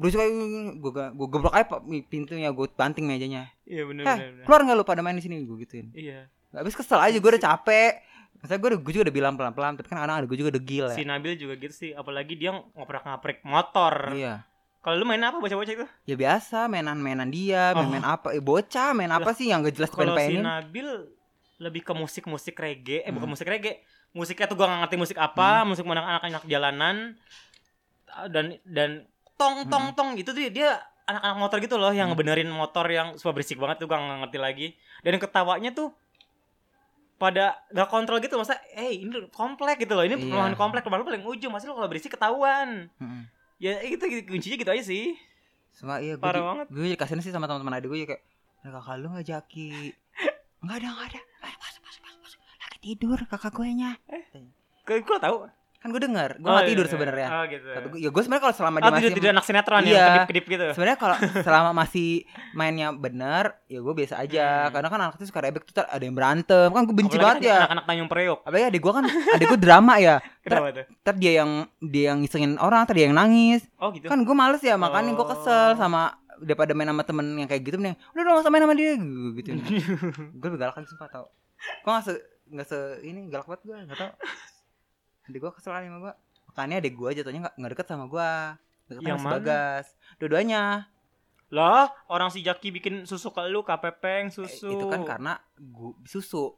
A: berisik aja gue gue geblok aja pa- pintunya gue banting mejanya
C: Iya benar
A: Hah,
C: benar. benar.
A: keluar nggak lu pada main di sini gue gituin
C: Iya.
A: habis kesel aja gue udah capek Maksudnya gue, gue juga udah bilang pelan-pelan Tapi kan anak ada gue juga degil
C: Si
A: ya
C: Nabil juga gitu sih, apalagi dia ngoprak-ngaprik motor.
A: Iya
C: Kalau lu main apa bocah-bocah itu?
A: Ya biasa mainan-mainan dia Main-main apa eh, Bocah main apa sih yang gak jelas
C: Oh. Kalau si
A: pengen-pengenin
C: Nabil lebih ke musik-musik reggae, eh bukan
A: Hmm.
C: musik reggae. Musiknya tuh gua gak ngerti musik apa, musik anak anak-anak jalanan Ah, dan dan tong tong tong gitu tuh dia anak-anak motor gitu loh yang
A: Hmm.
C: ngebenerin motor yang suka berisik banget tuh gua gak ngerti lagi. Dan ketawanya tuh pada gak kontrol gitu masa eh ini komplek gitu loh ini
A: Iya.
C: perumahan komplek rumah lu paling ujung masih lu kalau berisik ketahuan
A: Mm-mm.
C: ya gitu, gitu kuncinya gitu aja sih
A: Sama iya gue
C: Parah
A: di-
C: banget.
A: Gue jadi kasihan sih sama teman-teman adik gue ya, kayak "Ada kakak lu gak jaki Enggak ada enggak ada Eh, pas, pas, pas, pas. Lagi tidur kakak gue nya
C: Gue gue tahu.
A: Kan gue denger Gue
C: Oh,
A: gak
C: iya,
A: tidur
C: iya.
A: sebenarnya
C: Oh gitu.
A: Kata gue, Ya gue sebenarnya kalau selama
C: Oh
A: dia
C: tidur
A: masih
C: tidur anak sinetron
A: Iya.
C: ya, kedip-kedip gitu.
A: sebenarnya kalau selama masih mainnya bener ya gue biasa aja
C: Hmm.
A: karena kan anak itu suka rebek tuh ntar ada yang berantem kan gue benci
C: Apalagi
A: banget ya
C: Anak-anak Tanjung Priok.
A: apalagi adik gue kan adik gue drama ya
C: Kenapa tuh?
A: ntar dia yang dia yang ngisengin orang ntar dia yang nangis
C: Oh gitu.
A: kan gue males ya makanya gue
C: Oh.
A: kesel sama daripada main sama temen yang kayak gitu nih udah dong sama main sama dia gitu gue lebih galak lagi sumpah tau gue nggak se nggak se ini galak banget gue nggak tau adik gue kesel kali sama gue makanya adik gue jatuhnya nggak nggak deket sama gue deket
C: Yang
A: sama si
C: mana?
A: bagas dua-duanya
C: Lah, orang si Jaki bikin susu ke lu, kapepeng
A: Eh,
C: susu.
A: itu kan karena gua susu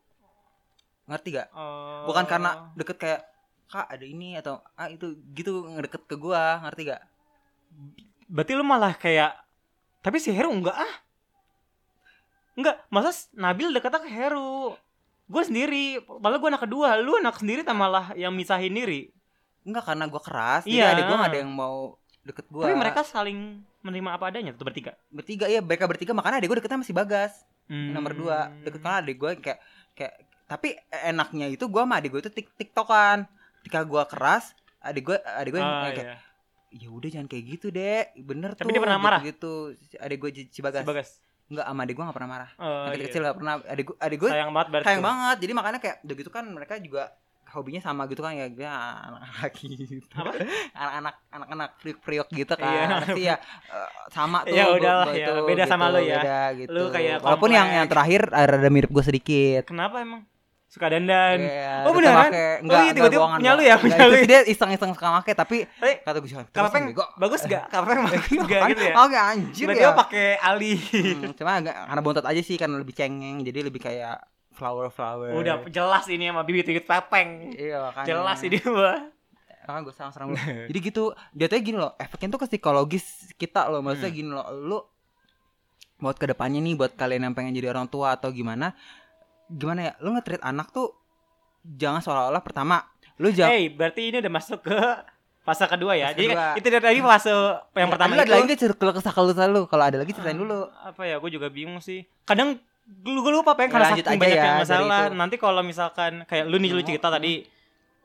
A: ngerti gak
C: Oh.
A: bukan karena deket kayak kak ada ini atau ah itu gitu ngedeket ke gue ngerti gak
C: Berarti lu malah kayak tapi si Heru enggak ah. Enggak, masa s- Nabil dekatnya ke Heru. Gue sendiri, padahal gue anak kedua, lu anak sendiri tak malah yang misahin diri.
A: Enggak karena gue keras
C: Iya.
A: jadi adik gue gak ada yang mau deket gue
C: Tapi mereka saling menerima apa adanya tuh bertiga.
A: bertiga ya mereka bertiga makanya adik gue deketnya sama si bagas
C: Hmm.
A: nomor dua deket banget adik gue kayak kayak tapi e, enaknya itu gue sama adik gue itu tik tiktokan ketika gue keras adik gue adik gue yang
C: Ah,
A: kayak
C: iya.
A: ya udah jangan kayak gitu deh bener
C: Tapi
A: tuh
C: dia pernah marah?
A: gitu adik gue si
C: Si
A: bagas
C: Bagas.
A: nggak sama adik gue nggak pernah marah
C: Oh,
A: adik
C: iya.
A: kecil nggak pernah adik gue adik gue
C: sayang banget berarti.
A: sayang banget jadi makanya kayak udah gitu kan mereka juga hobinya sama gitu kan ya gue anak-anak gitu
C: Apa?
A: anak-anak anak-anak priok priok gitu kan
C: Iya.
A: pasti ya eh, sama tuh
C: Ya
A: gua-
C: udahlah
A: gua
C: ya,
A: itu,
C: beda sama lu ya.
A: beda gitu
C: Lu kayak
A: walaupun yang
C: kompleks.
A: yang terakhir ada mirip gue sedikit
C: Kenapa emang? Suka dandan.
A: Iya,
C: Oh,
A: tetep
C: beneran?
A: make.
C: Oh, iya,
A: Enggak,
C: tiba-tiba
A: enggak,
C: punya
A: bohongan,
C: lu ya, Eh,
A: enggak.
C: punya
A: Enggak,
C: lu
A: itu dia iseng-iseng suka make tapi
C: Tapi
A: kata gue jangan terus
C: kapepeng
A: nih, bego.
C: bagus gak? Kapepeng bagus gak gitu ya?
A: Oke anjir
C: Berarti
A: Iya,
C: lo
A: ya.
C: pakai Ali.
A: Hmm, cuma agak karena bontot aja sih karena lebih cengeng jadi lebih kayak flower flower.
C: Udah jelas ini sama bibit bibit pepeng.
A: Iya, makanya.
C: Jelas ini mah.
A: Makanya gue serang-serang lu. Jadi gitu, dia tuh gini loh, efeknya tuh ke psikologis kita loh. Maksudnya gini loh, lu buat kedepannya nih buat kalian yang pengen jadi orang tua atau gimana, gimana ya? Lu nge-treat anak tuh jangan seolah-olah pertama lu jangan
C: Hey, berarti ini udah masuk ke fase kedua ya.
A: Fase
C: Jadi
A: kedua. Iya,
C: itu dari tadi fase Eh, yang pertama
A: Ada
C: itu.
A: lagi deh cerita kesah kalau lu. Kalau ada lagi ceritain dulu.
C: Apa ya? Gue juga bingung sih. Kadang gue gue lupa pengen
A: Ya,
C: karena
A: lanjut
C: saking
A: aja
C: banyak
A: ya,
C: yang
A: dari
C: masalah.
A: itu.
C: Nanti kalau misalkan kayak lu nih lu
A: Hmm.
C: cerita tadi.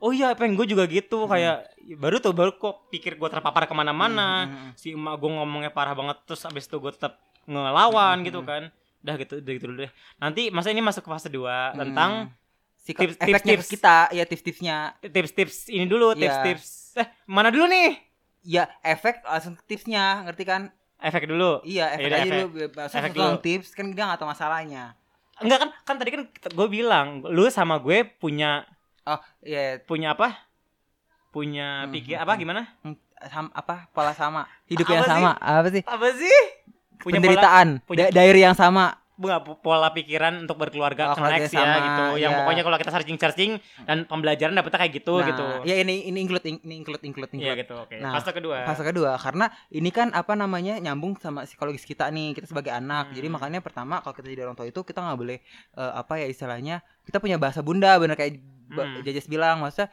C: Oh iya, pengen gue juga gitu kayak baru tuh baru kok pikir gue terpapar kemana-mana.
A: Hmm, hmm,
C: si emak gue ngomongnya parah banget terus abis itu gue tetap ngelawan
A: Mhm.
C: gitu kan udah gitu udah gitu dulu deh nanti masa ini masuk ke fase 2
A: hmm.
C: tentang
A: Psiko-
C: tips-
A: efeknya ke
C: tips- tips.
A: kita, ya tips-tipsnya.
C: tips-tips ini dulu
A: Iya.
C: tips-tips eh mana dulu nih
A: Ya efek langsung ke tipsnya, ngerti kan?
C: efek dulu
A: Iya, efek
C: Yaudah,
A: aja
C: efek.
A: lu langsung
C: Efek
A: langsung
C: dulu.
A: tips kan dia nggak tahu masalahnya.
C: enggak kan kan tadi kan gue bilang lu sama gue punya
A: Ya,
C: punya apa punya
A: Mhm.
C: pikir apa gimana
A: sam- apa pola sama, hidup
C: Apa
A: yang
C: sih?
A: sama. Apa sih?
C: apa sih punya pola
A: penderitaan
C: punya-
A: da- diary yang sama
C: enggak, po- pola pikiran untuk berkeluarga
A: Oh, keluarga
C: connect ya
A: sama,
C: gitu yang
A: iya.
C: pokoknya kalau kita searching searching dan pembelajaran dapetnya kayak gitu
A: Nah,
C: gitu
A: ya ini ini include ini include include
C: Iya
A: include
C: gitu oke
A: Nah,
C: fase kedua
A: fase kedua karena ini kan apa namanya nyambung sama psikologis kita nih kita sebagai anak
C: Hmm.
A: jadi makanya pertama kalau kita jadi orang tua itu kita nggak boleh eh, apa ya istilahnya kita punya bahasa bunda bener kayak ba-
C: Hmm.
A: jajas bilang maksudnya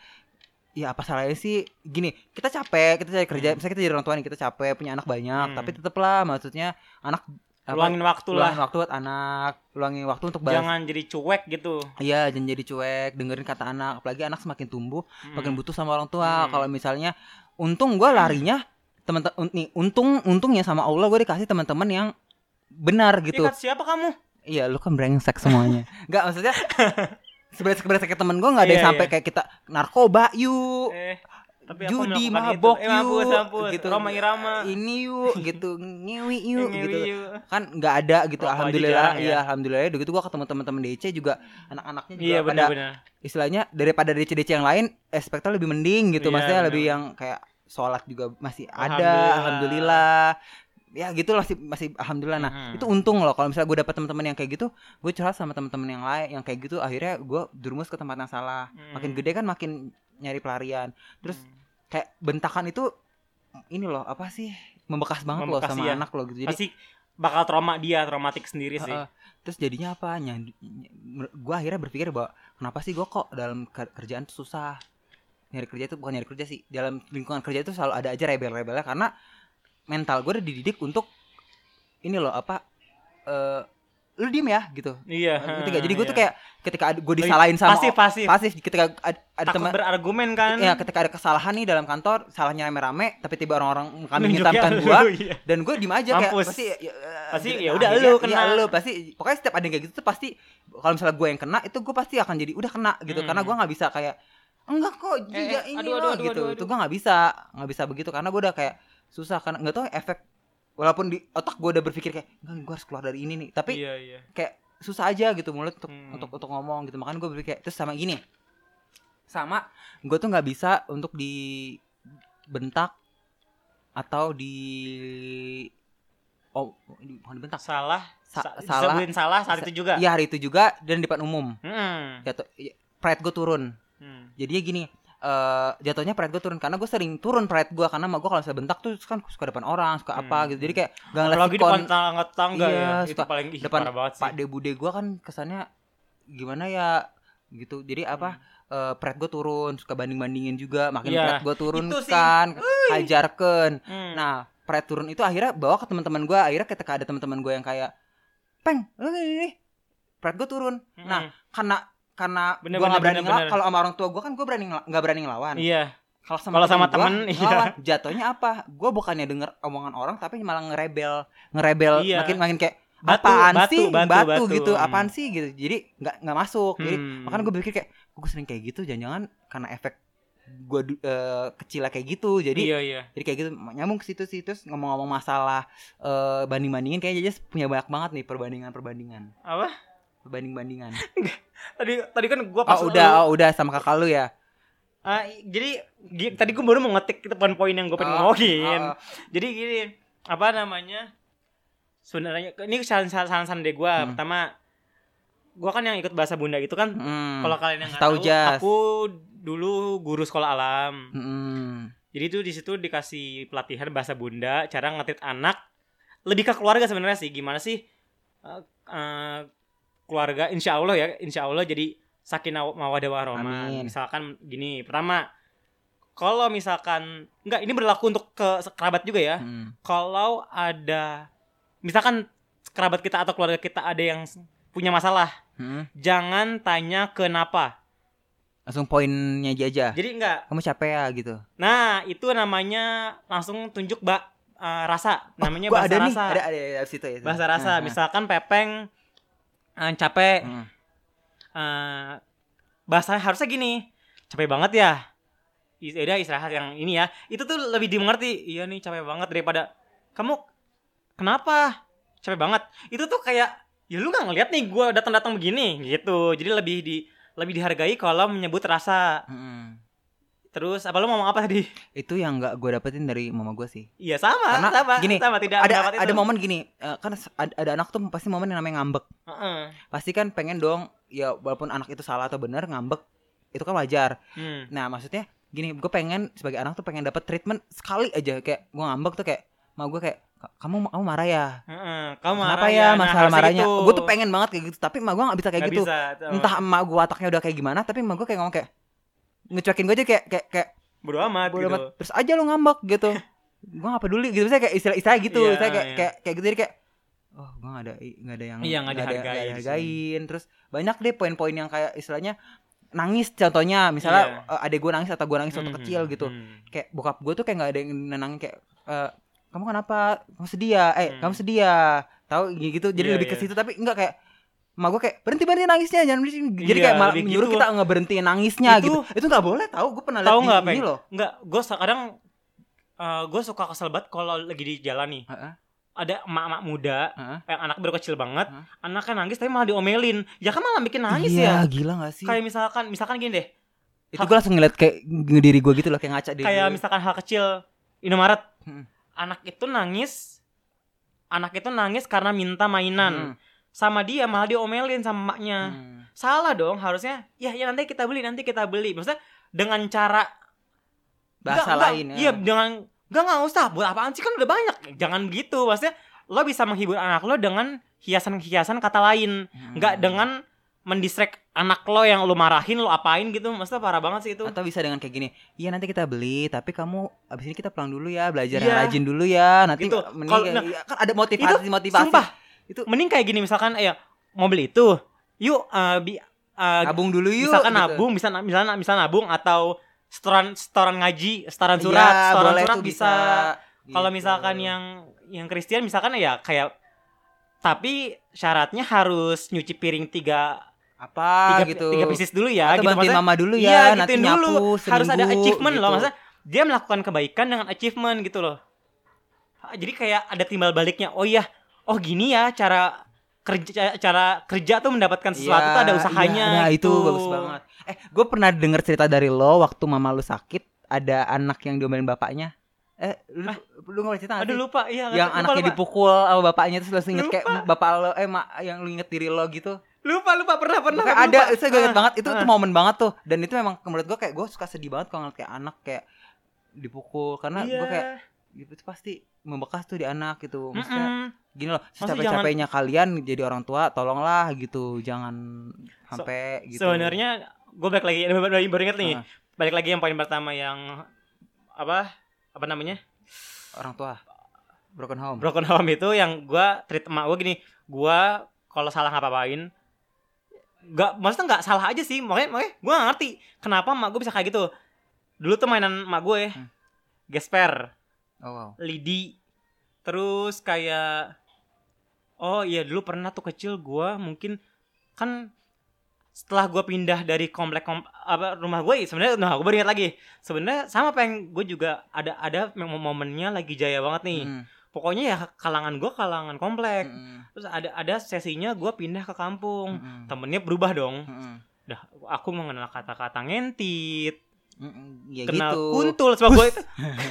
A: ya apa salahnya sih gini kita capek kita cari kerja misalnya kita jadi orang tua nih kita capek punya anak banyak
C: Hmm.
A: tapi tetep lah maksudnya anak apa,
C: luangin waktu lah
A: luangin waktu buat anak luangin waktu untuk bahas
C: jangan jadi cuek gitu
A: iya jangan jadi cuek dengerin kata anak apalagi anak semakin tumbuh makin butuh sama orang tua
C: Hmm.
A: kalau misalnya untung gua larinya teman nih untung untungnya sama Allah gue dikasih teman-teman yang benar
C: Ih,
A: gitu
C: Kat, siapa kamu
A: iya lu kan brengsek semuanya nggak maksudnya sebenarnya sebenarnya temen gue nggak ada yang
C: Iya,
A: sampai
C: iya.
A: kayak kita narkoba yuk
C: eh tapi aku
A: judi
C: melakukan
A: mabok
C: itu. eh, mampus,
A: yuk, Gitu.
C: mampus. Roma Irama
A: ini yuk gitu ngewi yuk
C: Ini
A: gitu
C: Wiyu.
A: kan nggak ada gitu
C: Rokok aja
A: alhamdulillah
C: jarang ya.
A: iya alhamdulillah udah gitu gua ketemu teman-teman DC juga anak-anaknya juga
C: iya
A: pada
C: benar-benar
A: istilahnya daripada DC-DC yang lain aspeknya lebih mending gitu
C: Iya,
A: maksudnya
C: benar.
A: lebih yang kayak sholat juga masih
C: Alhamdulillah.
A: ada alhamdulillah ya gitu lah sih masih alhamdulillah nah
C: Mhm.
A: itu untung loh kalau misalnya gue dapet teman-teman yang kayak gitu gue curhat sama teman-teman yang lain yang kayak gitu akhirnya gue durumus ke tempat yang salah makin
C: Hmm.
A: gede kan makin nyari pelarian terus
C: Hmm.
A: kayak bentakan itu ini loh apa sih membekas banget
C: Membekas,
A: loh sama
C: iya.
A: anak loh gitu jadi
C: pasti bakal trauma dia traumatik sendiri sih
A: Heeh. terus jadinya apa Nyandi- ny- gua akhirnya berpikir bahwa kenapa sih gua kok dalam ker- kerjaan tuh susah nyari kerja itu bukan nyari kerja sih dalam lingkungan kerja itu selalu ada aja rebel-rebelnya karena mental gue udah dididik untuk ini loh apa eh lu diem ya gitu
C: iya
A: ketiga jadi gue tuh
C: iya.
A: kayak ketika gue disalahin sama
C: pasif pasif
A: pasif ketika ada, ada
C: takut
A: teman
C: berargumen kan
A: ya ketika ada kesalahan nih dalam kantor salahnya rame-rame tapi tiba orang-orang kami
C: Nunjuknya
A: hitamkan
C: lu,
A: gua
C: iya.
A: dan gue diem aja kayak
C: Mampus.
A: pasti ya,
C: Pasti
A: gitu.
C: ya udah
A: Akhirnya,
C: lu
A: ya
C: kena.
A: lu pasti pokoknya setiap ada yang kayak gitu tuh pasti kalau misalnya gue yang kena itu gue pasti akan jadi udah kena gitu
C: Hmm.
A: karena gue nggak bisa kayak enggak kok juga
C: eh,
A: ini
C: aduh,
A: loh
C: aduh, aduh,
A: gitu
C: aduh,
A: itu
C: aduh.
A: gue nggak bisa nggak bisa begitu karena gue udah kayak susah karena nggak tahu efek walaupun di otak gue udah berpikir kayak enggak gue harus keluar dari ini nih tapi
C: iya iya
A: kayak susah aja gitu mulut untuk
C: Hmm.
A: untuk untuk ngomong gitu makanya gue berpikir kayak- terus sama gini sama gue tuh nggak bisa untuk dibentak atau di oh di- bukan dibentak
C: salah
A: Sa-
C: sa-
A: salah.
C: disebutin salah saat
A: Sa-
C: itu juga
A: iya hari itu juga dan di depan umum
C: Hmm,
A: jatuh i- pride gue turun
C: hmm.
A: jadinya gini eh jatuhnya pride gue turun karena gue sering turun pride gue karena mah gue kalau saya bentak tuh kan suka depan orang suka apa
C: Hmm.
A: gitu jadi kayak gak ngeliat
C: apalagi depan
A: sikon
C: tangga tangga
A: Iya,
C: ya itu
A: suka
C: paling ih,
A: depan
C: parah banget sih
A: pak de bude gue kan kesannya gimana ya gitu jadi apa eh pride gue turun suka banding bandingin juga makin
C: Hmm. Iya,
A: pride gue turun
C: itu sih.
A: kan hajarkan
C: Hmm.
A: nah pride turun itu akhirnya bawa ke teman-teman gue akhirnya ketika ada teman-teman gue yang kayak peng lu gini nih pride gue turun
C: Hmm.
A: nah, karena karena gue
C: Bener,
A: nggak
C: bener,
A: berani
C: bener,
A: ngelawan
C: bener.
A: kalau sama orang tua gue kan gue berani ngela- nggak berani ngelawan
C: iya
A: kalau sama
C: Kalau sama
A: gua,
C: temen, iya.
A: ngelawan. jatuhnya apa gue bukannya denger omongan orang tapi malah ngerebel ngerebel
C: Iya.
A: makin makin kayak
C: Batu,
A: apaan
C: batu,
A: sih
C: batu, batu.
A: gitu
C: Hmm.
A: apaan sih gitu jadi nggak nggak masuk jadi
C: Hmm.
A: makanya gue berpikir kayak gue sering kayak gitu jangan-jangan karena efek gue kecil kayak gitu jadi
C: iya iya
A: jadi kayak gitu nyambung ke situ sih terus ngomong-ngomong masalah eh, banding-bandingin kayaknya Jajas punya banyak banget nih perbandingan-perbandingan
C: apa
A: perbanding-bandingan
C: tadi tadi kan gua pas
A: oh udah oh udah sama kakak lu ya
C: Ah, jadi gi- tadi gue baru mau ngetik itu poin-poin yang gue pengen
A: Oh,
C: ngomongin.
A: oh.
C: Jadi gini, apa namanya? Sebenarnya ini saran-saran deh gue.
A: Hmm.
C: Pertama, gue kan yang ikut bahasa bunda itu kan.
A: Hmm.
C: Kalau kalian yang nggak
A: Tahu,
C: tahu,
A: Jas.
C: aku dulu guru sekolah alam.
A: Mm-mm.
C: Jadi tuh di situ dikasih pelatihan bahasa bunda, cara ngetik anak. Lebih ke keluarga sebenarnya sih. Gimana sih eh, eh, keluarga? Insya Allah ya, insya Allah jadi sakinah mawadah warahmah.
A: Amin.
C: Misalkan gini, pertama kalau misalkan enggak ini berlaku untuk ke kerabat juga ya.
A: Mm.
C: Kalau ada misalkan kerabat kita atau keluarga kita ada yang s- punya masalah,
A: Mm.
C: jangan tanya kenapa.
A: langsung poinnya aja aja
C: Jadi enggak.
A: kamu capek ya gitu
C: Nah, itu namanya langsung tunjuk Mbak eh, rasa. Namanya
A: Gua
C: bahasa
A: Oh, ada
C: rasa.
A: nih ada ada, ada abis itu ya
C: bahasa rasa misalkan pepeng eh, capek
A: Hmm.
C: eh, bahasa harusnya gini capek banget ya Is- udah istirahat yang ini ya itu tuh lebih dimengerti iya nih capek banget daripada kamu kenapa capek banget itu tuh kayak ya lu nggak ngeliat nih gua datang datang begini gitu jadi lebih di lebih dihargai kalau menyebut rasa terus apa lu mau ngomong apa tadi
A: nah. Hmm. itu yang nggak gue dapetin dari mama gue sih
C: iya sama
A: Karena
C: sama
A: gini,
C: sama tidak
A: ada
C: mendapat itu.
A: ada momen gini eh, kan s- ada, ada anak tuh pasti momen yang namanya ngambek
C: Heeh.
A: pasti kan pengen dong ya walaupun anak itu salah atau benar ngambek itu kan wajar
C: Hmm.
A: nah maksudnya gini gue pengen sebagai anak tuh pengen dapet treatment sekali aja kayak gue ngambek tuh kayak mau gue kayak "Ka- kamu kamu marah ya
C: Heeh. kamu
A: kenapa
C: marah
A: ya
C: Nah,
A: masalah
C: harusnya
A: marahnya
C: gitu.
A: gue tuh pengen banget kayak gitu tapi emak gue nggak bisa kayak
C: Nggak
A: gitu
C: bisa, tuh.
A: entah emak gue otaknya udah kayak gimana tapi emak gue kayak ngomong kayak ngecuekin gue aja kayak kayak kayak
C: bodo amat gitu.
A: "Bodo amat, terus aja lo ngambek gitu gue gak peduli gitu saya kayak istilah istilah gitu
C: Iya,
A: saya kayak,
C: iya.
A: kayak kayak gitu jadi kayak oh gue gak ada gak ada yang
C: Iya, nggak
A: nggak ada-
C: dihargai
A: nggak
C: di
A: dihargain terus banyak deh poin-poin yang kayak istilahnya nangis contohnya misalnya eh, adek gue nangis atau gue nangis waktu
C: Iya. Hmm,
A: kecil gitu
C: hmm.
A: kayak bokap gue tuh kayak nggak ada yang nenangin kayak eh, kamu kenapa kamu sedih ya eh
C: Hmm.
A: kamu sedih ya tahu gitu gitu.
C: Iya,
A: jadi lebih ke
C: iya.
A: situ tapi enggak kayak emak gue kayak berhenti berhenti nangisnya jangan berhenti jadi
C: Iya,
A: kayak malah
C: lebih
A: menyuruh
C: gitu.
A: kita nggak berhentiin nangisnya
C: Itu-
A: gitu itu nggak boleh tahu gue pernah
C: Tahu nggak,
A: lihat di ini
C: Peng?
A: loh
C: Enggak, gue kadang gue suka kesel banget kalau lagi di jalan nih.
A: Heeh.
C: Ada emak-emak muda
A: Heeh.
C: yang anak baru kecil banget,
A: Heeh.
C: anaknya nangis tapi malah diomelin. Ya kan malah bikin nangis
A: iya,
C: ya.
A: gila gak sih
C: Kayak misalkan misalkan gini deh,
A: itu gue langsung ngeliat kayak ngediri gue gitu loh kayak ngaca diri
C: kayak
A: gue.
C: misalkan hal kecil Indomaret.
A: Hmm.
C: Anak itu nangis anak itu nangis karena minta mainan.
A: Hmm,
C: Sama dia malah diomelin sama emaknya.
A: hmm.
C: salah dong harusnya ya ya nanti kita beli nanti kita beli maksudnya dengan cara
A: bahasa
C: Nggak, nggak,
A: lain ya.
C: iya dengan gak nggak usah buat apaan sih kan udah banyak jangan gitu maksudnya lo bisa menghibur anak lo dengan hiasan-hiasan kata lain
A: Hmm.
C: nggak dengan mendistract anak lo yang lo marahin lo apain gitu maksudnya parah banget sih itu
A: atau bisa dengan kayak gini iya nanti kita beli tapi kamu abis ini kita pulang dulu ya belajar
C: Iya.
A: yang rajin dulu ya nanti
C: Gitu.
A: mending
C: Kalau-
A: kayak-
C: nah,
A: iya, kan ada motivasi motivasi
C: sumpah
A: itu-
C: mending kayak gini misalkan ya mau beli itu yuk eh, bi- eh,
A: nabung dulu yuk
C: misalkan
A: gitu.
C: nabung bisa na- misalnya misalnya nabung atau setoran setoran ngaji setoran surat
A: Iya,
C: setoran
A: boleh
C: surat
A: tuh
C: bisa.
A: Gitu.
C: Kalau misalkan ya yang yang Kristen misalkan ya kayak tapi syaratnya harus nyuci piring tiga
A: apa
C: tiga,
A: gitu
C: tiga pieces dulu ya
A: atau
C: gitu
A: bantuin
C: maksudnya.
A: mama dulu ya
C: Iya,
A: nanti
C: gituin
A: nyapu
C: dulu. harus ada
A: seminggu,
C: achievement loh
A: gitu.
C: maksudnya dia melakukan kebaikan dengan achievement gitu loh. Ah, jadi kayak ada timbal baliknya oh iya oh gini ya cara kerja cara kerja tuh mendapatkan sesuatu
A: Iya,
C: tuh ada usahanya
A: iya, nah,
C: gitu.
A: itu bagus banget eh gue pernah denger cerita dari lo waktu mama lu sakit ada anak yang diomelin bapaknya eh lu, lu nggak pernah cerita nggak
C: aduh
A: sih?
C: lupa iya
A: yang
C: lupa,
A: anaknya
C: lupa.
A: dipukul sama bapaknya terus langsung inget
C: Lupa.
A: kayak bapak lo eh mak yang lu inget diri lo gitu
C: lupa lupa pernah pernah
A: Kayak
C: lupa.
A: ada saya gue inget
C: Ah,
A: banget itu
C: ah.
A: itu momen banget tuh dan itu memang menurut gue kayak gue suka sedih banget kalau ngeliat kayak anak kayak dipukul karena
C: iya.
A: gue kayak itu pasti membekas tuh di anak gitu maksudnya
C: Mm-mm.
A: gini loh
C: Maksudnya
A: capek-capeknya kalian jadi orang tua tolonglah gitu jangan
C: So-
A: sampai gitu
C: Sebenarnya gue balik lagi baru, baru baru inget nih.
A: Ah.
C: Balik lagi yang paling pertama yang apa apa namanya?
A: orang tua broken home
C: Broken home itu yang gua treat emak gue gini, gua kalau salah ngapa-ngapain Gak, maksudnya gak salah aja sih Makanya, makanya gue gak ngerti Kenapa emak gue bisa kayak gitu Dulu tuh mainan emak gue
A: Hmm.
C: Gesper
A: oh wow
C: lidi terus kayak oh iya dulu pernah tuh kecil gua mungkin kan setelah gua pindah dari komplek kom, apa rumah gue sebenarnya nah gue baru ingat lagi sebenarnya sama pengen gue juga ada ada mom- momennya lagi jaya banget nih
A: Mm,
C: pokoknya ya kalangan gua kalangan komplek
A: mm,
C: terus ada ada sesinya gua pindah ke kampung
A: mm,
C: temennya berubah dong
A: mm, mm,
C: dah aku mengenal kata-kata ngentit
A: mm, mm, ya
C: kenal
A: gitu
C: kuntul sebab gue itu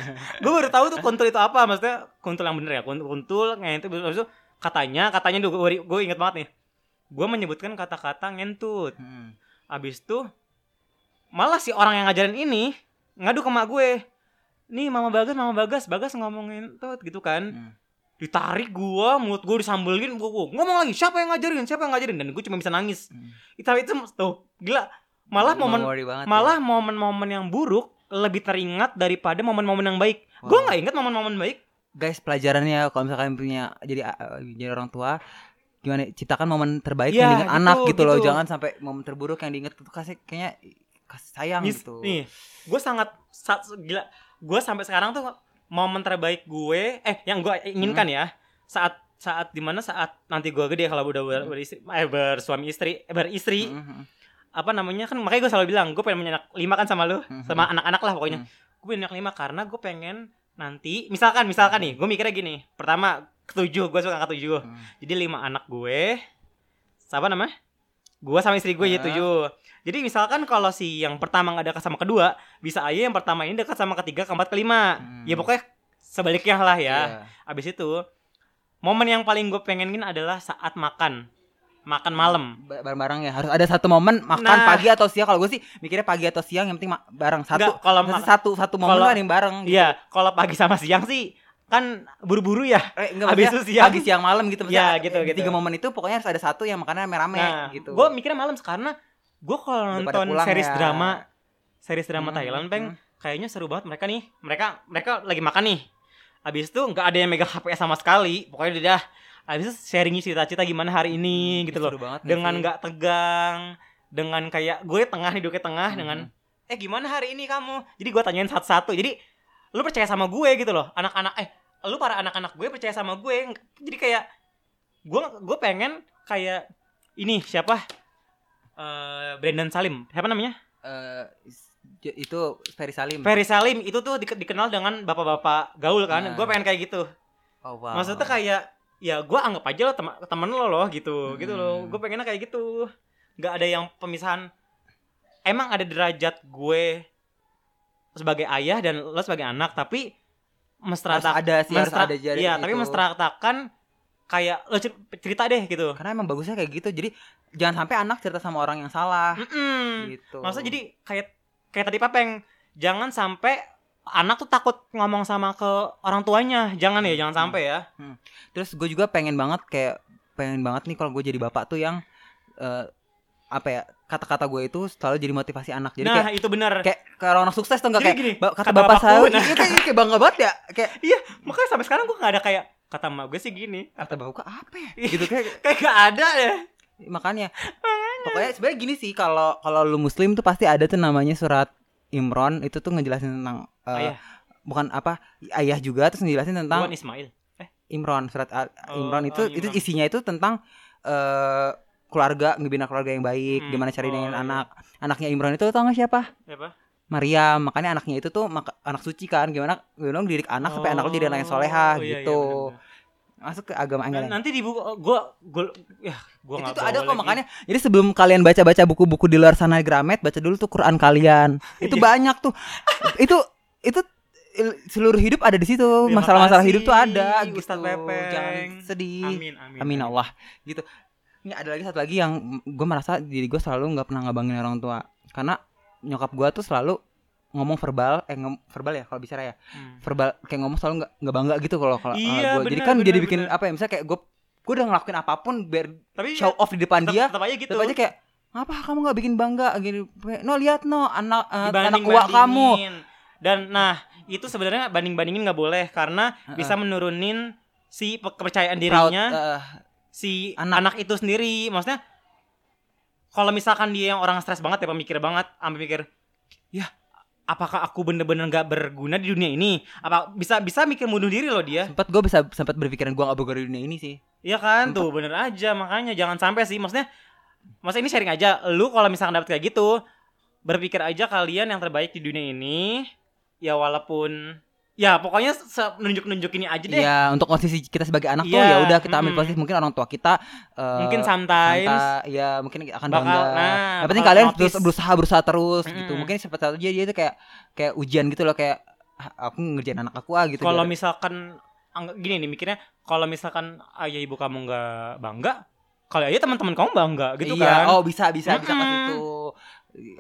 C: gue baru tahu tuh kuntul itu apa maksudnya kuntul yang bener ya kun- kuntul ngentut habis itu katanya katanya dulu gue, gue inget banget nih gue menyebutkan kata-kata ngentut
A: Mm,
C: abis itu malah si orang yang ngajarin ini ngadu ke mak gue nih mama bagas mama bagas bagas ngomong ngentut gitu kan
A: mm.
C: ditarik gue mulut gue disambelin gue gue ngomong lagi siapa yang ngajarin siapa yang ngajarin dan gue cuma bisa nangis
A: Hmm.
C: itu itu tuh gila malah momen
A: Memori banget ya.
C: malah momen-momen yang buruk lebih teringat daripada momen-momen yang baik.
A: Wow.
C: Gue nggak ingat momen-momen baik.
A: guys pelajarannya kalau misalkan punya jadi uh, jadi orang tua gimana ciptakan momen terbaik
C: Ya,
A: yang diingat
C: gitu,
A: anak gitu, loh
C: gitu.
A: jangan sampai momen terburuk yang diingat itu kasih kayaknya kasih sayang
C: Mis-
A: gitu
C: Nih, gue sangat sa- gila. Gue sampai sekarang tuh momen terbaik gue, eh yang gue inginkan ya saat saat dimana saat nanti gue gede kalau udah ber,
A: Hmm.
C: beristri, eh, bersuami istri, eh, beristri
A: Mm-mm.
C: apa namanya kan makanya gue selalu bilang gue pengen punya anak lima kan sama lu
A: Mhm.
C: sama anak-anak lah pokoknya
A: Mhm.
C: gue punya anak lima karena gue pengen nanti misalkan misalkan nih gue mikirnya gini pertama ketujuh gue suka angka ketujuh
A: Mm.
C: jadi lima anak gue siapa namanya gue sama istri gue jadi
A: Ah.
C: tujuh jadi misalkan kalau si yang pertama nggak dekat sama kedua bisa aja yang pertama ini dekat sama ketiga keempat kelima
A: Hmm.
C: ya pokoknya sebaliknya lah ya
A: Iya.
C: abis itu momen yang paling gue pengenin adalah saat makan makan malam
A: Ba- bareng-bareng ya harus ada satu momen makan
C: Nah.
A: pagi atau siang kalau gue sih mikirnya pagi atau siang yang penting ma- bareng satu
C: Nggak, kalau
A: Maksudnya
C: makan
A: satu satu momen
C: Kalau-
A: tuh ada yang bareng gitu.
C: iya kalau pagi sama siang sih kan buru-buru ya
A: eh, enggak,
C: abis
A: maksudnya
C: itu siang
A: pagi siang malam gitu
C: Iya,
A: maksudnya,
C: gitu,
A: eh,
C: gitu.
A: tiga momen itu pokoknya harus ada satu yang makannya rame-rame
C: nah
A: gitu
C: gue mikirnya malam karena gue kalau
A: Udah pada
C: nonton
A: pulang
C: series
A: ya.
C: drama series drama
A: Hmm,
C: Thailand peng
A: hmm.
C: kayaknya seru banget mereka nih mereka mereka lagi makan nih abis itu nggak ada yang megang HP sama sekali pokoknya udah dah. abis itu sharing cita-cita gimana hari ini gitu loh
A: Hmm, Iya, Seru banget nggak
C: dengan
A: sih?
C: nggak tegang dengan kayak gue tengah nih duduknya tengah
A: Mhm.
C: dengan eh gimana hari ini kamu jadi gue tanyain satu-satu jadi lu percaya sama gue gitu loh anak-anak eh lu para anak-anak gue percaya sama gue jadi kayak gue gue pengen kayak ini siapa Eh, Brandon Salim siapa namanya
A: eh j- itu Ferry Salim.
C: Hmm. Ferry Salim itu tuh dike- dikenal dengan bapak-bapak gaul kan.
A: Nah.
C: Gue pengen kayak gitu.
A: Oh, wow.
C: Maksudnya kayak ya gue anggap aja lo tem- temen lo loh gitu, gitu loh.
A: Hmm.
C: Gue pengennya kayak gitu. Gak ada yang pemisahan. Emang ada derajat gue sebagai ayah dan lo sebagai anak, tapi
A: harus
C: mestrata,
A: ada sih harus
C: mestra-
A: ada gitu. jadi
C: iya, tapi
A: itu.
C: menstratakan kayak lo cer- cerita deh gitu.
A: Karena emang bagusnya kayak gitu. Jadi jangan sampai anak cerita sama orang yang salah
C: Mm-mm.
A: gitu.
C: Hmm. Maksudnya jadi kayak kayak tadi Papeng, jangan sampai anak tuh takut ngomong sama ke orang tuanya. Jangan ya, jangan sampai ya.
A: terus gue juga pengen banget kayak pengen banget nih kalau gue jadi bapak tuh yang eh, apa ya kata-kata gue itu selalu jadi motivasi anak. Jadi
C: nah,
A: kayak
C: itu benar.
A: kayak kayak orang sukses tuh enggak
C: Jadi
A: kayak
C: gini,
A: "Ba- kata,
C: kata
A: bapak
C: bapakku,
A: saya
C: nah.
A: iya kayak, kayak bangga banget ya kayak
C: Makanya sampai sekarang gua nggak ada kayak kata emak gue sih gini.
A: kata bapak apa ya
C: Iya.
A: gitu kayak
C: Kayak gak ada ya.
A: makanya pokoknya sebenarnya gini sih kalau kalau lu muslim tuh pasti ada tuh namanya surat Imron itu tuh ngejelasin tentang eh,
C: Ayah.
A: bukan apa ayah juga terus ngejelasin tentang
C: Bukan Ismail.
A: Imron surat Al-
C: Oh,
A: Imron itu
C: ah,
A: itu
C: Imron.
A: isinya itu tentang eh keluarga ngebina keluarga yang baik
C: Hmm,
A: gimana cari
C: oh,
A: dengan
C: iya.
A: anak anaknya Imron itu tau nggak siapa
C: Siapa?
A: Maria makanya anaknya itu tuh maka- anak suci kan gimana gimana ngedidik anak sampai anak lu jadi anak yang soleha
C: Oh, iya, iya,
A: gitu
C: benar-benar.
A: masuk ke agama
C: Nah,
A: anggaran
C: nanti di buku gue gue ya gue
A: itu tuh ada kok makanya jadi sebelum kalian baca-baca buku-buku di luar sana Gramet baca dulu tuh Quran kalian itu
C: Iya.
A: banyak tuh itu itu il- seluruh hidup ada di situ
C: Terima
A: masalah-masalah hidup tuh
C: kasih,
A: ada gitu
C: Ya, Ustadz Pepeng.
A: jangan sedih
C: amin amin
A: amin Allah gitu ini ada lagi satu lagi yang gue merasa diri gue selalu nggak pernah ngabangin orang tua karena nyokap gue tuh selalu ngomong verbal eh ngom- verbal ya kalau bicara ya
C: Hmm.
A: verbal kayak ngomong selalu nggak nggak bangga gitu kalau kalau
C: Iya,
A: gue jadi
C: benar,
A: kan
C: benar,
A: jadi bikin
C: benar.
A: apa ya misalnya kayak gue gue udah ngelakuin apapun biar
C: tapi
A: show off di depan
C: tetap-
A: dia
C: tetap aja gitu
A: tetap aja kayak apa kamu nggak bikin bangga gini no lihat no anak eh, anak
C: Dibanding-bandingin.
A: uak kamu
C: dan nah itu sebenarnya banding bandingin nggak boleh karena bisa menurunin si pe- kepercayaan
A: Proud,
C: dirinya
A: eh,
C: si anak.
A: Anak.
C: itu sendiri maksudnya kalau misalkan dia yang orang stres banget ya pemikir banget sampai mikir ya apakah aku bener-bener nggak berguna di dunia ini apa bisa bisa mikir bunuh diri loh dia
A: sempat gue bisa sempat berpikiran gue nggak berguna di dunia ini sih
C: Iya kan tuh bener aja makanya jangan sampai sih maksudnya Maksudnya ini sharing aja lu kalau misalkan dapet kayak gitu berpikir aja kalian yang terbaik di dunia ini ya walaupun ya pokoknya nunjuk nunjuk ini aja Gitu deh
A: Iya, untuk posisi kita sebagai anak tuh
C: Iya,
A: ya udah kita ambil
C: mm-mm.
A: posisi mungkin orang tua kita eh,
C: mungkin sometimes
A: santai, ya mungkin akan
C: Bakal-
A: bangga.
C: nah,
A: yang penting
C: bakal
A: kalian
C: notice.
A: terus berusaha berusaha terus gitu.
C: Mm-mm.
A: Mungkin sempat satu dia dia itu kayak kayak ujian gitu loh kayak "Ah, aku ngerjain anak aku ah gitu.
C: kalau
A: Biar-
C: misalkan angg- gini nih mikirnya kalau misalkan ayah ibu kamu nggak bangga kalau aja teman-teman kamu bangga gitu
A: iya,
C: kan
A: oh bisa bisa bisa ke
C: Mm-mm.
A: situ.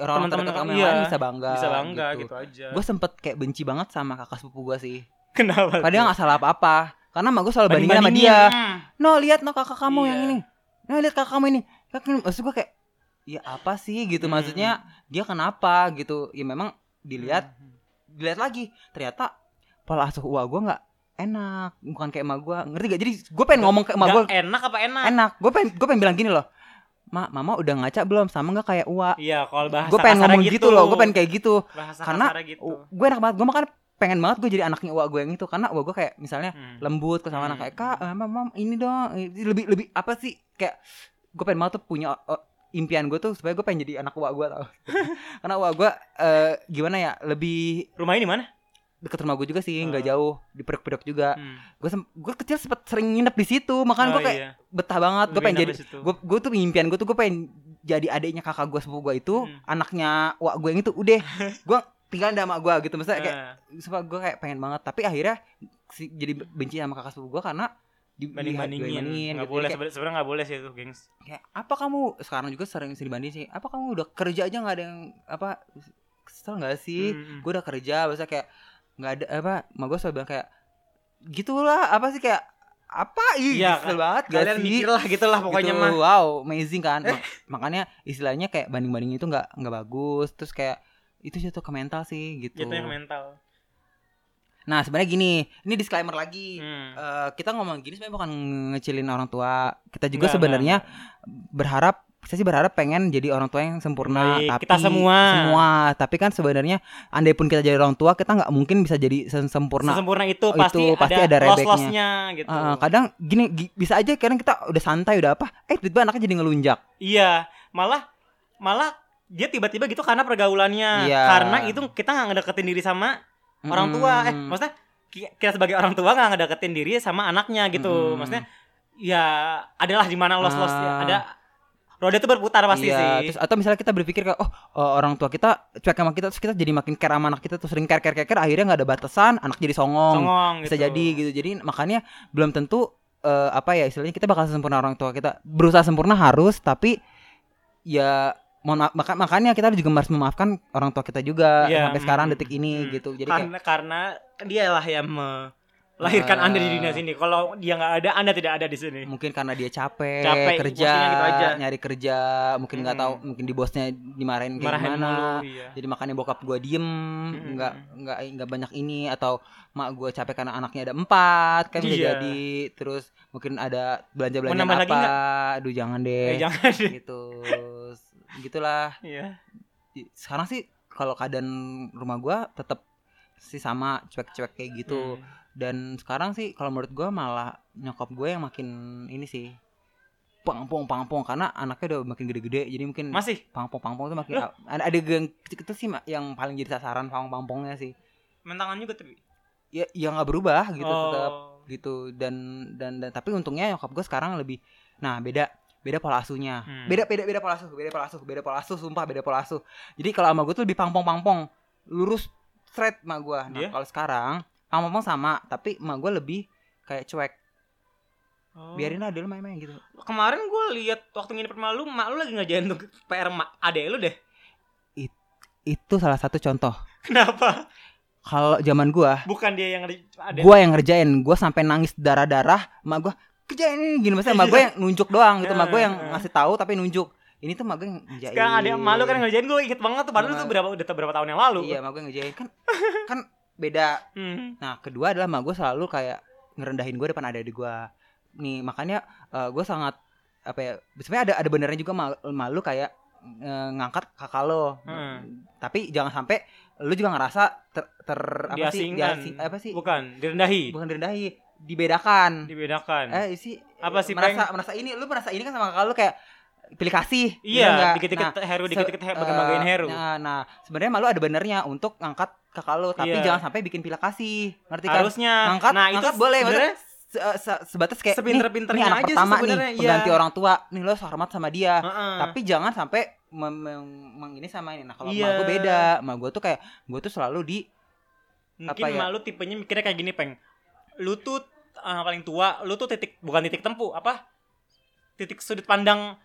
A: Orang
C: Teman-teman
A: terdekat kamu
C: iya,
A: yang lain bisa bangga.
C: bisa bangga gitu, aja
A: Gue sempet kayak benci banget sama kakak sepupu gue sih.
C: kenapa Hmm.
A: Padahal nggak salah apa-apa. Karena emak gue selalu bandingin sama dia. no lihat no kakak kamu yang
C: Iya.
A: ini no lihat kakak kamu ini kakak ini." maksud gue kayak ya apa sih
C: Hmm.
A: gitu maksudnya dia kenapa gitu ya memang
C: Hmm.
A: dilihat dilihat lagi ternyata pola asuh uang gue nggak enak bukan kayak emak gue ngerti gak jadi gue pengen ngomong ke emak gue
C: Nggak enak apa enak
A: enak gue pengen gue pengen bilang gini loh Ma, mama udah ngaca belum sama nggak kayak Ua?
C: Iya, kalau bahasa
A: Gue pengen
C: kasarnya
A: ngomong gitu, loh, gue pengen kayak gitu.
C: bahasa
A: karena-
C: kasarnya gitu.
A: Gue enak banget, gue makan pengen banget gue jadi anaknya Ua gue yang itu karena Ua gue kayak misalnya
C: Hmm.
A: lembut ke sama
C: Hmm.
A: anak kayak kak eh, mam, mam, ini dong eh, lebih lebih apa sih kayak gue pengen banget tuh punya eh, impian gue tuh supaya gue pengen jadi anak uak gue tau karena uak gue eh, gimana ya lebih
C: Rumahnya di mana?
A: deket rumah gue juga sih nggak
C: Ah.
A: jauh di peruk-peruk juga
C: Hmm.
A: gue gue kecil sempet sering nginep di situ makanya gue
C: Oh,
A: Kan kayak
C: iya.
A: betah banget gue
C: Lebih
A: pengen
C: enak
A: jadi
C: di situ.
A: gue gue tuh impian gue tuh gue pengen jadi adiknya kakak gue sepupu gue itu
C: Hmm.
A: anaknya uak gue yang itu udah gue tinggal sama gue gitu maksudnya kayak
C: Nah,
A: sumpah gue kayak pengen banget tapi akhirnya si- jadi benci sama kakak sepupu gue karena di-
C: banding-bandingin.
A: dibandingin
C: Enggak boleh
A: gitu. Jadi kayak,
C: sebe- sebenarnya enggak boleh sih itu, gengs.
A: kayak, apa kamu sekarang juga sering sering dibanding sih apa kamu udah kerja aja nggak ada yang apa kesel nggak sih
C: Hmm.
A: gue udah kerja biasa kayak nggak ada apa mah gue selalu bilang kayak gitulah apa sih kayak apa ih
C: Iya,
A: kesel banget gak
C: Kalian
A: sih
C: mikirlah gitu lah pokoknya
A: Gitu,
C: mah. Eh.
A: wow amazing kan Ma- makanya istilahnya kayak banding bandingin itu nggak nggak bagus terus kayak itu jatuh ke mental sih gitu
C: Jatuhnya ke mental.
A: nah sebenarnya gini ini disclaimer lagi
C: Hmm.
A: Eh, kita ngomong gini sebenarnya bukan ngecilin orang tua. Kita juga
C: Enggak,
A: sebenarnya
C: enggak.
A: berharap saya sih berharap pengen jadi orang tua yang sempurna
C: Baik,
A: tapi
C: kita semua.
A: semua. tapi kan sebenarnya andai pun kita jadi orang tua kita nggak mungkin bisa jadi se- sempurna
C: Sesempurna itu
A: Oh, itu
C: pasti,
A: pasti
C: ada,
A: ada rebeknya.
C: loss-lossnya gitu.
A: Eh, kadang gini gi- bisa aja kadang kita udah santai udah apa eh tiba-tiba anaknya jadi ngelunjak
C: Iya, malah malah dia tiba-tiba gitu karena pergaulannya.
A: Iya.
C: Karena itu kita nggak ngedeketin diri sama orang tua. Eh,
A: Mm.
C: maksudnya ki- kita sebagai orang tua nggak ngedeketin diri sama anaknya gitu.
A: Mm.
C: Maksudnya ya adalah di mana los-los ya.
A: Ah.
C: ada roda itu berputar pasti
A: Iya,
C: sih.
A: terus atau misalnya kita berpikir kayak oh eh, orang tua kita cuek sama kita terus kita jadi makin care sama anak kita terus sering care care care, care akhirnya nggak ada batasan anak jadi
C: Songong gitu.
A: bisa jadi gitu jadi makanya belum tentu eh, apa ya istilahnya kita bakal sempurna orang tua kita berusaha sempurna harus tapi ya mohon maaf, maka- makanya kita juga harus memaafkan orang tua kita juga
C: Iya,
A: sampai
C: mm,
A: sekarang
C: mm,
A: detik ini
C: Hmm.
A: gitu jadi kayak,
C: karena karena dialah yang melahirkan
A: Ah.
C: Anda di dunia sini. Kalau dia nggak ada, Anda tidak ada di sini.
A: mungkin karena dia capek,
C: Capek,
A: kerja
C: mestinya gitu aja.
A: nyari kerja mungkin nggak
C: Mm.
A: tahu mungkin di bosnya dimarahin kayak
C: Marahin
A: gimana
C: mulu, iya.
A: jadi makanya bokap gua diem nggak nggak nggak banyak ini atau mak gua capek karena anaknya ada empat kan bisa
C: Iya.
A: jadi terus mungkin ada belanja belanja
C: nambah lagi
A: apa aduh jangan deh
C: Eh, jangan deh.
A: gitu S- gitulah
C: Iya.
A: I- sekarang sih kalau keadaan rumah gua tetap sih sama cuek-cuek kayak
C: Hmm.
A: gitu dan sekarang sih kalau menurut gua malah nyokap gue yang makin ini sih pangpong pangpong karena anaknya udah makin gede-gede jadi mungkin
C: Masih?
A: pangpong pangpong tuh makin ada ada yang kecil-kecil sih Ma, yang paling jadi sasaran pangpong pangpongnya sih
C: Mentangan juga tapi.
A: ya ya nggak berubah gitu
C: oh.
A: tetap gitu dan, dan dan tapi untungnya nyokap gue sekarang lebih nah beda beda pola asuhnya
C: Hmm.
A: beda beda beda pola asuh beda pola asuh beda pola asuh sumpah beda pola asuh jadi kalau sama gue tuh lebih pangpong pangpong lurus straight sama gue nah
C: Dia?
A: kalau sekarang pangpong pangpong sama tapi sama gue lebih kayak cuek
C: Oh.
A: biarin lah dia lu main-main gitu
C: Kemarin gue lihat waktu nginep rumah lu, mak lu lagi ngerjain tuh PR mak adek lu deh.
A: itu salah satu contoh
C: Kenapa?
A: kalau zaman gue
C: Bukan dia yang ngerjain adek.
A: gue yang ngerjain gue sampai nangis darah darah emak gue kerjain ini gini maksudnya emak gue yang nunjuk doang gitu emak gue yang ngasih tahu tapi nunjuk ini tuh emak gue yang ngerjain
C: Ya. Sekarang adek emak lu kan yang ngerjain gue inget banget tuh padahal
A: Emak-
C: itu berapa udah berapa tahun yang lalu.
A: iya emak gue yang ngerjain kan kan beda
C: Hmm.
A: nah kedua adalah emak gue selalu kayak ngerendahin gue depan adik gue nih makanya gue sangat apa ya sebenarnya ada ada benernya juga ma- malu kayak eh, ngangkat kakak lo
C: Hmm.
A: tapi jangan sampai lu juga ngerasa ter, ter- apa sih
C: Diasingkan.
A: diasing- apa sih
C: Bukan, direndahi,
A: bukan direndahi dibedakan
C: dibedakan.
A: eh sih
C: kan. Apa sih,
A: merasa merasa ini lu merasa ini kan sama kakak lu kayak pilih kasih bener nggak?
C: iya, dikit-dikit Heru,
A: se-
C: dikit-dikit Heru,
A: eh,
C: bagian Heru.
A: nah, nah sebenarnya malu ada benernya untuk ngangkat kakak lu tapi
C: Iya.
A: jangan sampai bikin pilih kasih ngerti kan
C: Harusnya.
A: ngangkat
C: nah, itu
A: ngangkat boleh
C: sebenarnya
A: maksudnya se- se- sebatas kayak nih,
C: sepinter-pinternya
A: nih anak
C: aja
A: pertama
C: sih
A: nih
C: sebenarnya. Iya,
A: pengganti orang tua nih lo hormat sama dia
C: Heeh.
A: tapi jangan sampai mem- mem- meng- ini sama ini nah kalau
C: Iya.
A: emak gue beda emak gue tuh kayak gue tuh selalu di
C: mungkin
A: apa ya?
C: emak lu tipenya mikirnya kayak gini, Peng. Lu tuh eh, paling tua, lu tuh titik bukan titik tempu, apa? Titik sudut pandang.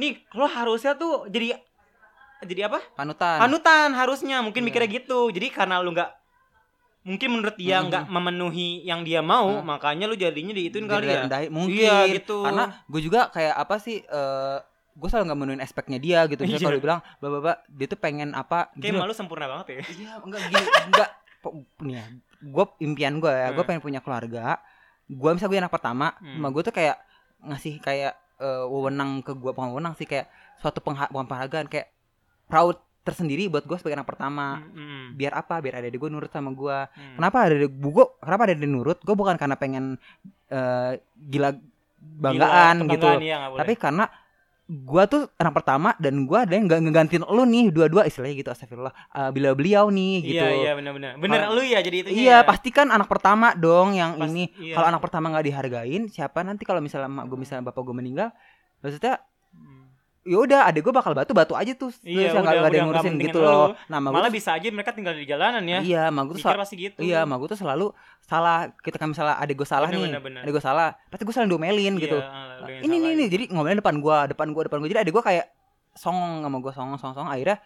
C: Nih, lu harusnya tuh jadi jadi apa?
A: panutan
C: Panutan harusnya, mungkin
A: Iya.
C: mikirnya gitu. Jadi karena lu nggak mungkin menurut dia
A: Mhm.
C: nggak memenuhi yang dia mau,
A: Hmm.
C: makanya lu jadinya diituin kali
A: Jadi
C: ya.
A: rendahin. mungkin
C: Iya, gitu.
A: karena gue juga kayak apa sih eh gue selalu nggak menuin aspeknya dia gitu misalnya
C: Iya.
A: kalau dibilang bapak bapak dia tuh pengen apa
C: Kayak
A: gini
C: malu sempurna banget ya.
A: loh. iya enggak gini enggak Po- nih ya gue impian gue ya gue
C: Hmm.
A: pengen punya keluarga gue misalnya gue anak pertama
C: Hmm.
A: emak gue tuh kayak ngasih kayak eh, wewenang ke gue bukan wewenang sih kayak suatu pengha- bukan penghargaan kayak proud tersendiri buat gue sebagai anak pertama
C: Mm-mm.
A: biar apa biar ada gue nurut sama gue
C: Hmm.
A: Nah, kenapa ada gue kenapa ada nurut gue bukan karena pengen eh, gila banggaan
C: Gila,
A: gitu
C: kebanggaan, iya, nggak boleh.
A: tapi karena gua tuh anak pertama dan gua ada yang nggak ngegantiin lu nih dua-dua istilahnya gitu astagfirullah Eh, bila beliau nih gitu
C: Iya iya benar-benar. Bener
A: Kalau-
C: lu ya jadi itu.
A: Iya, pasti kan anak pertama dong yang ini kalau anak
C: pertama
A: pertama nggak dihargain siapa nanti kalau misalnya emak gua misalnya bapak gua meninggal maksudnya
C: Hmm.
A: ya udah adik gua bakal batu-batu aja tuh
C: Iya,
A: Terus ya nggak
C: udah-
A: nggak ada
C: udah
A: yang
C: nggak
A: ngurusin
C: pentingin
A: gitu
C: lu.
A: loh nah emak gua
C: malah bisa aja mereka tinggal di jalanan ya.
A: iya emak gua tuh
C: Mikir pasti gitu.
A: Iya, emak gue tuh selalu salah. Kita kan misalnya adik gue salah
C: Bener,
A: nih,
C: bener, bener.
A: adik gue salah, pasti gue selalu diomelin gitu.
C: Iya, ah,
A: Ini nih
C: gitu.
A: nih, jadi ngomelin depan gue, depan gue, depan gue. Jadi adik gue kayak songong sama gue, songong, songong, songong. Akhirnya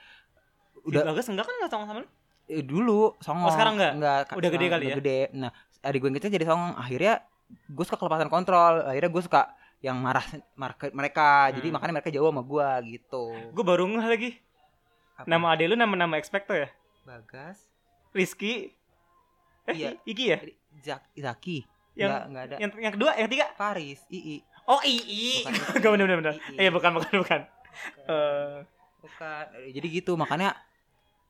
C: Udah
A: udah
C: bagus enggak kan enggak sama sama lu?
A: eh, dulu songong.
C: Oh, sekarang nggak?
A: Enggak. ka-
C: Udah gede
A: sekarang
C: kali
A: udah
C: ya?
A: Gede. Nah, adik gue yang kecil jadi songong. Akhirnya gue suka kelepasan kontrol. Akhirnya gue suka yang marah marah ke mereka. Jadi
C: Hmm.
A: makanya mereka jauh sama gue gitu.
C: Gue baru ngeh lagi.
A: Apa?
C: Nama ade lu nama-nama ekspektor ya?
A: Bagas.
C: Rizky. Eh,
A: Iya.
C: Iki ya?
A: Zak- Zaki.
C: Yang-
A: Enggak, enggak ada.
C: Yang yang kedua, yang ketiga.
A: Paris, Ii.
C: Oh, Ii.
A: Bukan.
C: Gak bener bener bener.
A: Ii.
C: Iya, bukan bukan bukan. Eh,
A: Bukan. Eh, Jadi gitu makanya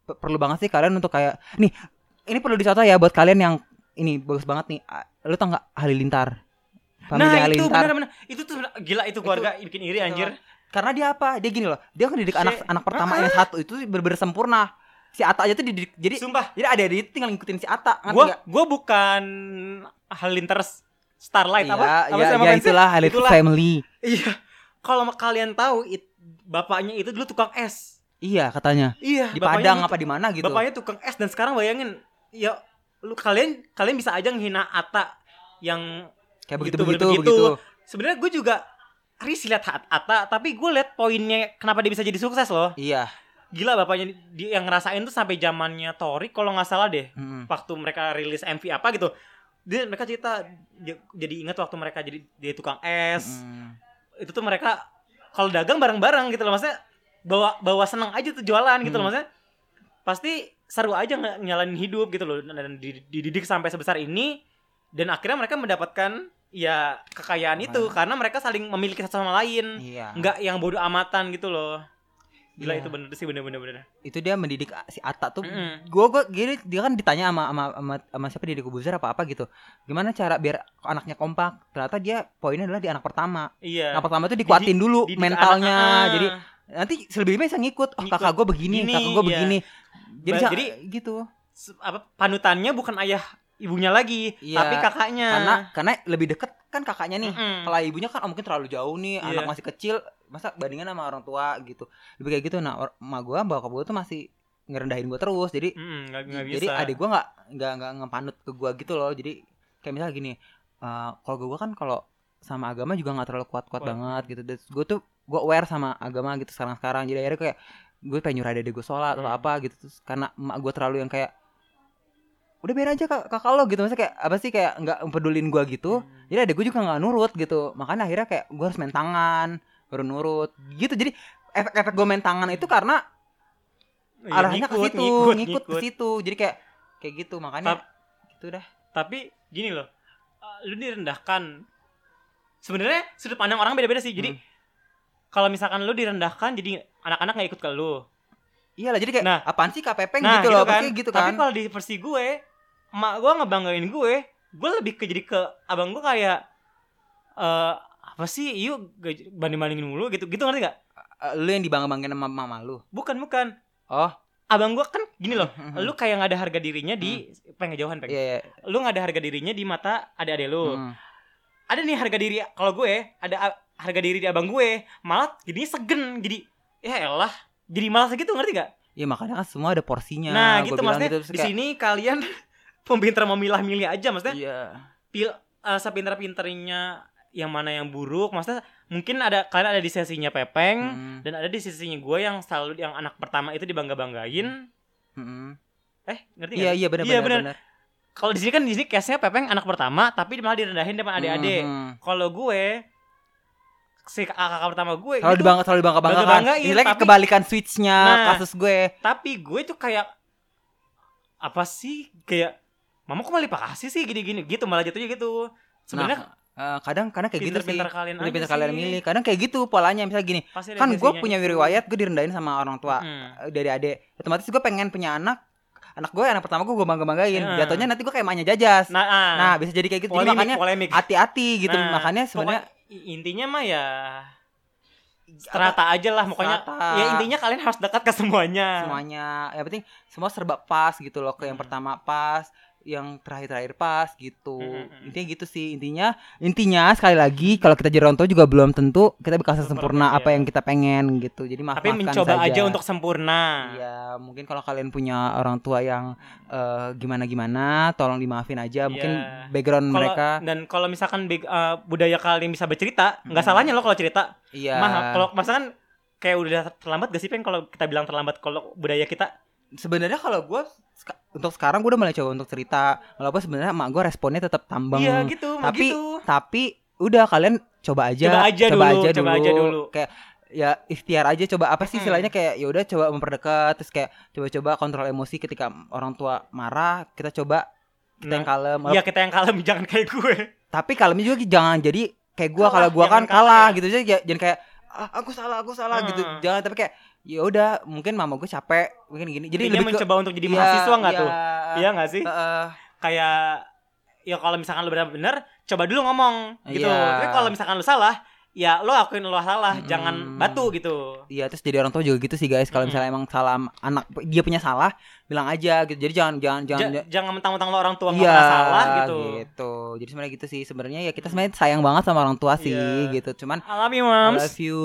A: pe- perlu banget sih kalian untuk kayak nih ini perlu dicontoh ya buat kalian yang ini bagus banget nih. A- Lu tau nggak Halilintar?
C: nah,
A: Family
C: itu
A: Halilintar.
C: bener bener. Itu tuh bener- gila itu keluarga bikin iri anjir.
A: Karena dia apa? Dia gini loh. Dia kan didik
C: Si-
A: anak anak pertama yang satu itu bener-bener sempurna. Si Ata aja tuh dididik jadi
C: Sumpah,
A: jadi ada dia tinggal ngikutin si Ata ngerti
C: gua
A: nggak?
C: gua bukan Halilintar Starlight apa?
A: Iya,
C: Apa
A: iya,
C: sih nama
A: iya,
C: fansnya?
A: itulah Halilintar
C: Itulah.
A: Family.
C: Iya. Kalau ma- kalian tahu it- bapaknya itu dulu tukang es.
A: Iya katanya.
C: Iya,
A: Di
C: bapaknya
A: Padang
C: dulu
A: apa di mana gitu.
C: Bapaknya tukang es dan sekarang bayangin ya lu kalian kalian bisa aja ngehina Ata yang
A: Kayak
C: gitu,
A: begitu-begitu
C: begitu.
A: begitu.
C: sebenarnya gue juga risih lihat At- Ata tapi gue lihat poinnya kenapa dia bisa jadi sukses loh.
A: Iya.
C: Gila bapaknya dia yang ngerasain tuh sampai zamannya Tori kalau nggak salah deh
A: Mm.
C: waktu mereka rilis MV apa gitu. Dia mereka cerita dia- jadi ingat waktu mereka jadi dia tukang es
A: Mm.
C: itu tuh mereka kalau dagang bareng-bareng gitu loh maksudnya bawa bawa senang aja tuh jualan gitu loh
A: Hmm.
C: maksudnya pasti seru aja nge- ngejalanin hidup gitu loh dan di- dididik sampai sebesar ini dan akhirnya mereka mendapatkan ya kekayaan itu karena mereka saling memiliki satu sama lain
A: Iya.
C: nggak yang bodoh amatan gitu loh gila
A: Iya. Mm-hmm.
C: itu bener sih bener bener bener
A: itu dia mendidik a- si Ata tuh
C: Mm-mm.
A: gue gue gini dia kan ditanya sama sama sama, sama siapa Deddy Kobuzer apa apa gitu gimana cara biar anaknya kompak ternyata dia poinnya adalah di anak pertama
C: iya
A: anak pertama tuh dikuatin dulu
C: Didik
A: mentalnya
C: anak- ah.
A: jadi nanti selebihnya bisa ngikut oh
C: Ngikut.
A: kakak gue begini
C: Gini,
A: kakak gue
C: iya.
A: begini jadi,
C: Ba-
A: sa-
C: jadi-
A: gitu
C: Se- apa panutannya bukan ayah ibunya lagi
A: Iya.
C: tapi kakaknya
A: karena karena lebih deket kan kakaknya nih
C: ya. Mm-mm.
A: kalau ibunya kan oh, mungkin terlalu jauh nih
C: Iya.
A: anak masih kecil masa bandingan sama orang tua gitu lebih kayak gitu nah or- emak gue bokap gue tuh masih ngerendahin gue terus jadi
C: Mm-mm, nggak nggak bisa
A: jadi adik gue nggak nggak nggak ngepanut ke gue gitu loh jadi kayak misalnya gini eh kalau gue kan kalau sama agama juga nggak terlalu kuat-kuat
C: Kuat.
A: banget gitu dan gue tuh gue aware sama agama gitu sekarang-sekarang jadi akhirnya kayak gue pengen nyuruh adik gue sholat atau
C: Hmm.
A: apa gitu terus karena emak gue terlalu yang kayak udah biarin aja kak kakak lo gitu maksudnya kayak apa sih kayak nggak pedulin gue gitu
C: Mm.
A: jadi adik gue juga nggak nurut gitu makanya akhirnya kayak gue harus main tangan baru nurut gitu jadi efek-efek gue main tangan itu karena
C: Iya,
A: arahnya ke
C: ngikut,
A: situ, ngikut,
C: ngikut,
A: ke
C: ngikut.
A: situ. Jadi kayak kayak gitu makanya
C: Tap-
A: gitu dah.
C: tapi gini loh uh, lu direndahkan sebenarnya sudut pandang orang beda-beda sih jadi
A: Hmm.
C: kalau misalkan lu direndahkan jadi anak-anak nggak ikut ke lu
A: Iyalah Iya jadi kayak
C: Nah.
A: apaan sih KPP
C: nah
A: gitu
C: gitu
A: loh,
C: kan
A: pasti gitu
C: tapi
A: kan.
C: kalau di versi gue emak gue ngebanggain gue gue lebih ke jadi ke abang gue kayak eh apa sih yuk banding bandingin mulu gitu gitu ngerti gak
A: Eh, lu yang dibangga-banggain sama mama lu.
C: bukan bukan
A: Oh.
C: abang gue kan gini loh
A: Mhm.
C: lu kayak nggak ada harga dirinya di pengen jauhan pengen
A: Iya, iya.
C: lu nggak ada harga dirinya di mata adik-adik lu
A: Hmm.
C: ada nih harga diri kalau gue ada a- harga diri di abang gue malah jadinya segen jadi ya elah jadi malas gitu ngerti gak?
A: Iya makanya kan semua ada porsinya.
C: nah
A: Gua
C: gitu
A: bilang
C: maksudnya
A: terus
C: di
A: kayak,
C: sini kalian peminter memilah-milih aja maksudnya
A: Iya.
C: eh, sepinter-pinternya yang mana yang buruk maksudnya mungkin ada kalian ada di sesinya Pepeng
A: Hmm,
C: dan ada di sisinya gue yang selalu yang anak pertama itu dibangga-banggain
A: hmm.
C: eh ngerti gak?
A: Iya, iya benar
C: Iya,
A: benar
C: benar.
A: benar.
C: Kalau di sini kan di sini case-nya Pepeng anak pertama tapi malah direndahin depan adik-adik.
A: Hmm.
C: Kalau gue si kakak pertama gue gitu,
A: Selalu
C: itu
A: dibangga selalu dibangga-banggakan.
C: Bangga-banggain,
A: Ini lagi
C: tapi-
A: kebalikan switchnya
C: Nah.
A: kasus gue.
C: tapi gue tuh kayak apa sih kayak mama kok malah kasih sih gini-gini gitu malah jatuhnya gitu sebenarnya
A: Eh, kadang kadang kayak gitu sih.
C: pinter-pinter kalian aja
A: Pinter-pinter
C: sih. Iya,
A: kalian milih. Kadang kayak gitu polanya misalnya gini.
C: Pasti ada
A: Kan gue
C: sisinya
A: punya
C: itu.
A: riwayat gue direndahin sama orang tua.
C: Mm.
A: eh, dari adek otomatis gue pengen punya anak anak gue anak pertama gue gue bangga banggain
C: Heeh.
A: jatuhnya nanti gue kayak emaknya jajas nah,
C: nah, ah,
A: bisa jadi kayak gitu Jadi
C: polemik,
A: makanya
C: polemik.
A: hati-hati gitu
C: Nah,
A: makanya sebenarnya
C: Pokoknya i- intinya mah ya strata aja lah pokoknya
A: Strata.
C: ya intinya kalian harus dekat ke semuanya
A: semuanya yang penting semua serba pas gitu loh ke yang
C: Hmm.
A: pertama pas yang terakhir-terakhir pas gitu
C: Hmm, hmm, hmm.
A: intinya gitu sih intinya intinya sekali lagi kalau kita jadi orang tua juga belum tentu kita bisa sempurna
C: Sempurna,
A: apa
C: iya.
A: yang kita pengen gitu jadi maafkan
C: tapi mencoba
A: saja.
C: aja untuk sempurna
A: Iya, mungkin kalau kalian punya orang tua yang eh, gimana-gimana, tolong dimaafin aja. Mungkin
C: Iya.
A: background
C: Kalau-
A: mereka,
C: dan kalau misalkan big- eh, budaya kalian bisa bercerita nggak
A: Mm.
C: salahnya lo kalau cerita
A: iya.
C: Mahal. Kalau masa kan kayak udah terlambat gak sih peng kalau kita bilang terlambat kalau budaya kita
A: Sebenarnya kalau gue seka- untuk sekarang gue udah mulai coba untuk cerita, walaupun sebenarnya emak gue responnya tetap tambang.
C: iya gitu, mah
A: tapi
C: gitu.
A: tapi udah kalian coba aja,
C: Coba aja dulu, coba aja dulu.
A: Kayak ya ikhtiar aja coba apa sih
C: Mm-mm.
A: istilahnya kayak ya udah coba memperdekat terus kayak coba-coba kontrol emosi ketika orang tua marah kita coba kita
C: Nah,
A: yang kalem
C: Iya kita yang kalem jangan kayak gue.
A: tapi kalemnya juga jangan jadi kayak gua kalau
C: Kalah,
A: gua kan
C: jangan kalah
A: kalah
C: ya.
A: gitu jadi ja- jangan kayak "Ah, aku salah aku salah gitu
C: Hmm.
A: jangan tapi kayak ya udah mungkin mama gue capek mungkin gini jadi
C: Jadi
A: lebih ke
C: mencoba untuk jadi
A: Iya,
C: mahasiswa nggak
A: iya,
C: tuh? Iya nggak sih?
A: heeh.
C: Kayak ya kalau misalkan lu benar-benar coba dulu ngomong gitu.
A: Iya.
C: Tapi kalau misalkan lu salah, ya lo akuin lo salah,
A: Mm-mm.
C: jangan batu gitu.
A: Iya terus jadi orang tua juga gitu sih guys kalau
C: Mm-mm.
A: misalnya emang salah anak dia punya salah bilang aja gitu jadi jangan jangan jangan
C: Ja-
A: ja-
C: jangan mentang-mentang lo orang tua nggak
A: Iya,
C: pernah salah gitu.
A: gitu. Jadi sebenarnya gitu sih sebenarnya ya kita sebenarnya sayang banget sama orang tua sih
C: Iya. Eh?
A: gitu. Cuman
C: Alami
A: I
C: moms.
A: love you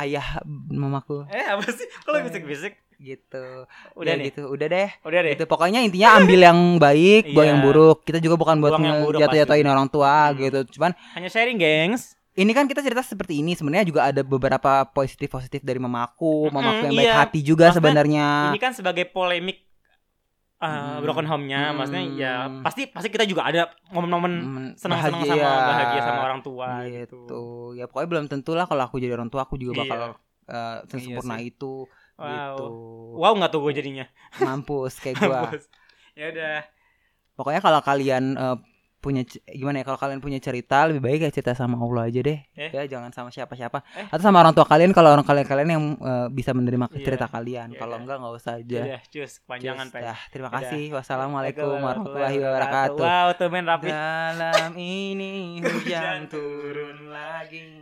A: ayah mamaku
C: Eh apa sih? Kalau bisik-bisik
A: gitu.
C: udah
A: Ya,
C: nih.
A: Iya. gitu. Udah deh.
C: Udah deh.
A: Gitu, pokoknya intinya ambil yang baik, buang
C: Iya.
A: yang buruk. Kita juga bukan buat
C: Buang yang buruk
A: jatuh-jatuhin orang
C: Hmm.
A: tua gitu. Cuman
C: Hanya sharing, gengs.
A: ini kan kita cerita seperti ini sebenarnya juga ada beberapa positif-positif dari mamaku,
C: Mm-mm,
A: mamaku yang baik
C: iya.
A: hati juga
C: Maksudnya,
A: sebenarnya.
C: ini kan sebagai polemik uh,
A: Hmm.
C: broken home-nya maksudnya ya
A: Hmm.
C: pasti pasti kita juga ada momen-momen kan
A: Mm,
C: senang-senang sama bahagia sama orang tua gitu.
A: gitu. Ya pokoknya belum tentulah kalau aku jadi orang tua aku juga bakal eh, sesempurna
C: Iya
A: itu
C: Wow.
A: gitu.
C: Wow nggak tuh gue jadinya.
A: Mampus kayak gua.
C: ya udah.
A: Pokoknya kalau kalian eh, punya c- gimana ya kalau kalian punya cerita lebih baik ya cerita sama Allah aja deh
C: Eh.
A: ya jangan sama siapa-siapa
C: Eh.
A: atau sama orang tua kalian kalau orang kalian kalian yang eh, bisa menerima
C: Iya.
A: cerita
C: Iya,
A: kalian kalau
C: iya.
A: enggak nggak usah aja
C: Udah, cus, panjangan, Pak.
A: Dah, terima
C: Udah.
A: kasih wassalamualaikum warahmatullahi wabarakatuh
C: Wow, tuh men rapi.
A: Dalam ini
C: Hujan
A: hujan turun lagi.